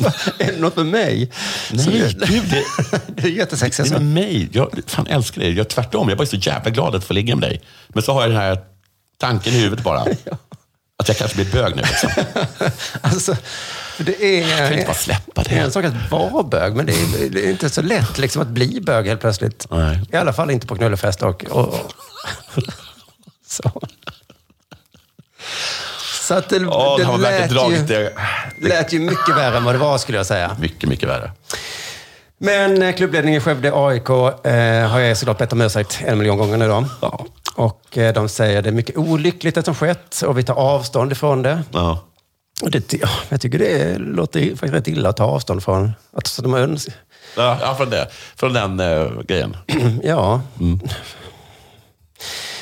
[SPEAKER 3] men-
[SPEAKER 4] Är det något med mig? Som
[SPEAKER 3] Nej,
[SPEAKER 4] gör-
[SPEAKER 3] gud. Det,
[SPEAKER 4] det är jättesexigt. alltså.
[SPEAKER 3] Det är med mig. Jag fan, älskar dig. Jag är tvärtom. Jag är bara så jävla glad att få ligga med dig. Men så har jag den här tanken i huvudet bara. Att jag kanske blir bög nu. Liksom.
[SPEAKER 4] Alltså, för det är... Jag
[SPEAKER 3] kan inte bara släppa det.
[SPEAKER 4] är en sak att vara bög, men det är, det är inte så lätt liksom, att bli bög helt plötsligt. I alla fall inte på knullefest och... och, och. så. så att det,
[SPEAKER 3] Ja, det
[SPEAKER 4] det
[SPEAKER 3] har man verkligen dragit
[SPEAKER 4] ju,
[SPEAKER 3] det.
[SPEAKER 4] lät ju mycket värre än vad det var, skulle jag säga.
[SPEAKER 3] Mycket, mycket värre.
[SPEAKER 4] Men eh, klubbledningen Skövde AIK eh, har jag såklart bett om ursäkt en miljon gånger nu då. Och eh, de säger det är mycket olyckligt det som skett och vi tar avstånd ifrån det.
[SPEAKER 3] Ja.
[SPEAKER 4] Och det, ja, jag tycker det låter ju faktiskt rätt illa att ta avstånd från. Att, så de öns-
[SPEAKER 3] Ja, ja, från, det. från den eh, grejen.
[SPEAKER 4] Mm, ja.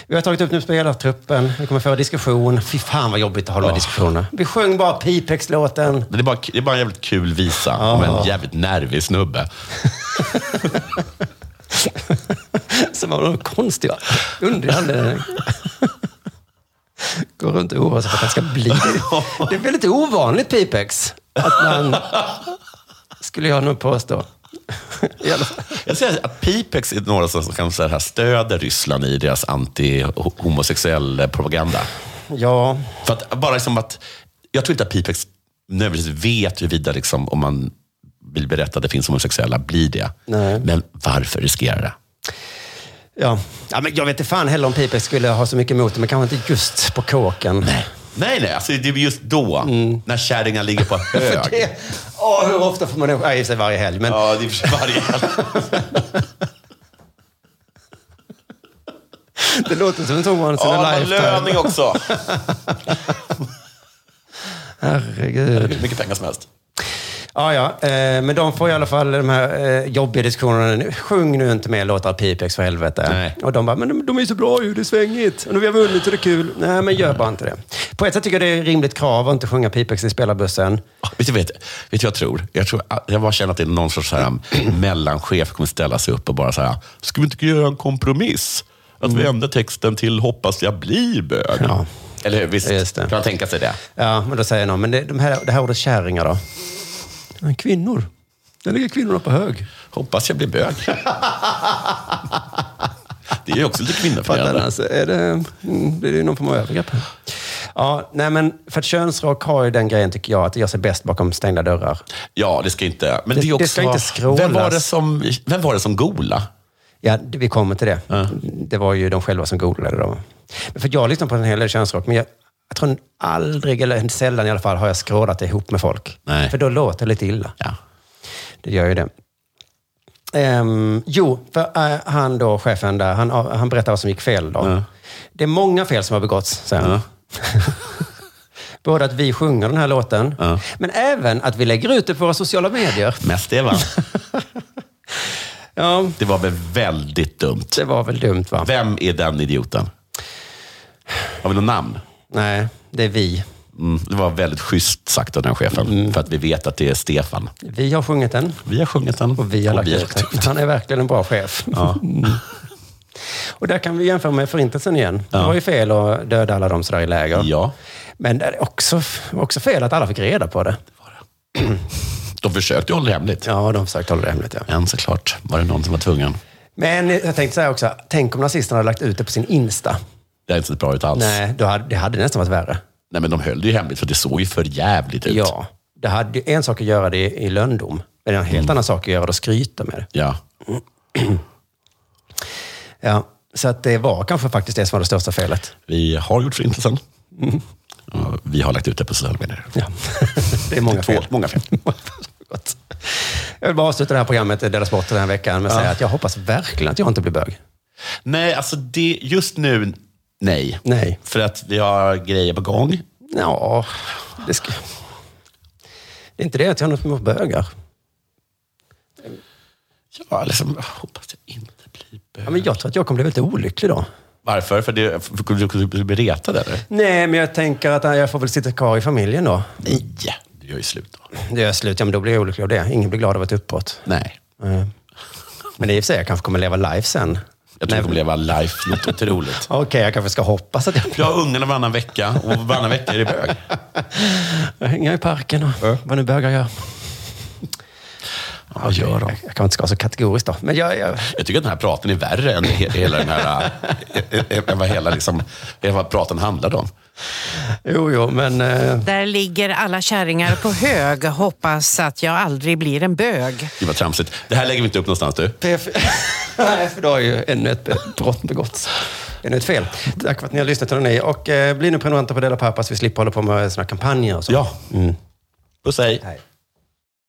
[SPEAKER 4] Vi har tagit upp nu spelartruppen, vi kommer föra diskussion. Fy fan vad jobbigt att ha de här diskussionerna. Vi sjöng bara Pipex-låten.
[SPEAKER 3] Det är, bara, det är bara en jävligt kul visa om en jävligt nervig snubbe.
[SPEAKER 4] Som av någon konstig underlig anledning. Går runt och oroar sig för att han ska bli det. Det är väldigt ovanligt Pipex. Att man, skulle jag nog påstå.
[SPEAKER 3] Jag säger att Pipex är några som, som kan säga här, stöder Ryssland i deras anti-homosexuell propaganda.
[SPEAKER 4] Ja,
[SPEAKER 3] För att bara liksom att, jag tror inte att Pipex nödvändigtvis vet huruvida liksom, om man vill berätta att det finns homosexuella, blir det.
[SPEAKER 4] Nej.
[SPEAKER 3] Men varför riskera det?
[SPEAKER 4] ja. ja men jag vet inte fan heller om Pipex skulle ha så mycket emot det, men kanske inte just på kåken. Nej.
[SPEAKER 3] Nej, nej, alltså det är just då, när kärringen ligger på hög.
[SPEAKER 4] Det, åh, hur ofta får man... Ja, i och för sig varje helg, men...
[SPEAKER 3] Ja, alltså, det är för sig varje helg.
[SPEAKER 4] Det låter som en sån once in a
[SPEAKER 3] Ja, det var
[SPEAKER 4] lifetime.
[SPEAKER 3] löning också.
[SPEAKER 4] Herregud.
[SPEAKER 3] Hur mycket pengar som helst.
[SPEAKER 4] Ja, ja. Eh, men de får i alla fall de här eh, jobbiga diskussionerna. nu. Sjung nu inte mer låtar av Pipex för helvete. Och de bara, men de, de är ju så bra ju, det är svängigt. Och nu har vi vunnit och det är kul. Nej, men gör bara inte det. På ett sätt tycker jag det är ett rimligt krav att inte sjunga Pipex i spelarbussen.
[SPEAKER 3] Vet du, vet, vet du vad jag tror? Jag, tror, jag bara känner att det är någon sorts så här, mellanchef kommer ställa sig upp och bara så här, ska vi inte göra en kompromiss? Att
[SPEAKER 4] Mm.
[SPEAKER 3] vi ändrar texten till hoppas jag blir bög. Eller hur? Visst kan man tänka sig det?
[SPEAKER 4] Ja, men då säger någon, men det, de här, det här ordet kärringar då? Men Kvinnor. Där ligger kvinnorna på hög.
[SPEAKER 3] Hoppas jag blir bög. det är ju också lite kvinnoförnedrande.
[SPEAKER 4] Alltså, är det, mm, det är ju någon form av övergrepp. här. Ja, nej men för att könsrock har ju den grejen, tycker jag, att det gör sig bäst bakom stängda dörrar.
[SPEAKER 3] Ja, det ska inte... Men det,
[SPEAKER 4] Det-
[SPEAKER 3] är också,
[SPEAKER 4] det ska inte skrålas.
[SPEAKER 3] Vem var det som, vem var det som gola?
[SPEAKER 4] Ja, det- vi kommer till det. Det var ju de själva som googlade dem. Men För jag lyssnar på en hel del könsrock, men jag, jag tror aldrig, eller sällan i alla fall, har jag skrålat ihop med folk. För då låter det lite illa. Det gör ju det. Ehm, jo, för eh, han då, chefen där, han, eh, han berättar vad som gick fel då. Det är många fel som har begåtts, säger han. Både att vi sjunger den här låten, men även att vi lägger ut det på våra sociala medier.
[SPEAKER 3] Mest det, va?
[SPEAKER 4] ja.
[SPEAKER 3] Det var väl väldigt dumt?
[SPEAKER 4] Det var väl dumt, va?
[SPEAKER 3] Vem är den idioten? Har vi något namn?
[SPEAKER 4] Nej, det är vi.
[SPEAKER 3] Mm, det var väldigt schysst sagt av den chefen,
[SPEAKER 4] Mm.
[SPEAKER 3] för att vi vet att det är Stefan.
[SPEAKER 4] Vi har sjungit den.
[SPEAKER 3] Vi har sjungit den.
[SPEAKER 4] Och vi har
[SPEAKER 3] Och
[SPEAKER 4] lagt
[SPEAKER 3] vi har
[SPEAKER 4] ut den. Han är verkligen en bra chef. Mm. Och där kan vi jämföra med Förintelsen igen. Det var ju fel att döda alla dem sådär i läger.
[SPEAKER 3] Ja.
[SPEAKER 4] Men det är också, också fel att alla fick reda på det.
[SPEAKER 3] De försökte ju hålla det hemligt.
[SPEAKER 4] Ja, de försökte hålla det hemligt. Ja.
[SPEAKER 3] Men såklart var det någon som var tvungen.
[SPEAKER 4] Men jag tänkte säga också, tänk om nazisterna hade lagt ut det på sin Insta.
[SPEAKER 3] Det hade inte sett bra ut alls.
[SPEAKER 4] Nej, då hade, det hade nästan varit värre.
[SPEAKER 3] Nej, men de höll det ju hemligt, för det såg ju för jävligt ut.
[SPEAKER 4] Ja, det hade ju en sak att göra det i lönndom. Men en helt annan sak att göra det och skryta med det.
[SPEAKER 3] Ja.
[SPEAKER 4] Ja, så att det var kanske faktiskt det som var det största felet.
[SPEAKER 3] Vi har gjort Förintelsen.
[SPEAKER 4] Mm.
[SPEAKER 3] Och Vi har lagt ut det på sociala medier.
[SPEAKER 4] Det är många
[SPEAKER 3] Två-
[SPEAKER 4] fel.
[SPEAKER 3] Många fel.
[SPEAKER 4] Jag vill bara avsluta det här programmet, Dela Sport, den här veckan med att
[SPEAKER 3] Ja.
[SPEAKER 4] säga att jag hoppas verkligen att jag inte blir bög.
[SPEAKER 3] Nej, alltså det, just nu, nej.
[SPEAKER 4] Nej.
[SPEAKER 3] För att vi har grejer på gång.
[SPEAKER 4] Ja, det ska... Det är inte det att jag har något emot bögar.
[SPEAKER 3] Ja, liksom, jag hoppas det inte blir bög.
[SPEAKER 4] Ja, men jag tror att jag kommer bli väldigt olycklig då.
[SPEAKER 3] Varför? För det, för, för, du du blir retad eller?
[SPEAKER 4] Nej, men jag tänker att eh, jag får väl sitta kvar i familjen då.
[SPEAKER 3] Nej, du gör ju slut då.
[SPEAKER 4] Det gör slut, ja men då blir jag olycklig av det. Ingen blir glad av ett uppbrott.
[SPEAKER 3] Nej.
[SPEAKER 4] Eh, Men det är i och för sig, jag kanske kommer leva live sen.
[SPEAKER 3] Jag tror du kommer leva life något otroligt.
[SPEAKER 4] Okej, jag kanske ska hoppas att jag...
[SPEAKER 3] Jag har ungarna varannan vecka och varannan vecka är det bög.
[SPEAKER 4] Jag hänger i parken och vad nu bögar gör. Ja, gör de. Jag kan inte ska vara så kategorisk då. Men jag, jag,
[SPEAKER 3] Jag tycker att den här praten är värre än he- hela den här... eh, eh, Än vad hela liksom, än vad praten handlade om.
[SPEAKER 4] jo, jo, men... eh,
[SPEAKER 14] Där ligger alla kärringar på hög. Hoppas att jag aldrig blir en bög.
[SPEAKER 3] Gud vad tramsigt. Det här lägger vi inte upp någonstans du.
[SPEAKER 4] Nej, för då har ju ännu ett brott begåtts. Ännu ett fel. Tack för att ni har lyssnat, hörni. Och eh, bli nu prenumeranter på Dela Pappas. Vi slipper hålla på med såna kampanjer och så.
[SPEAKER 3] Ja. Puss hej.
[SPEAKER 4] Hej.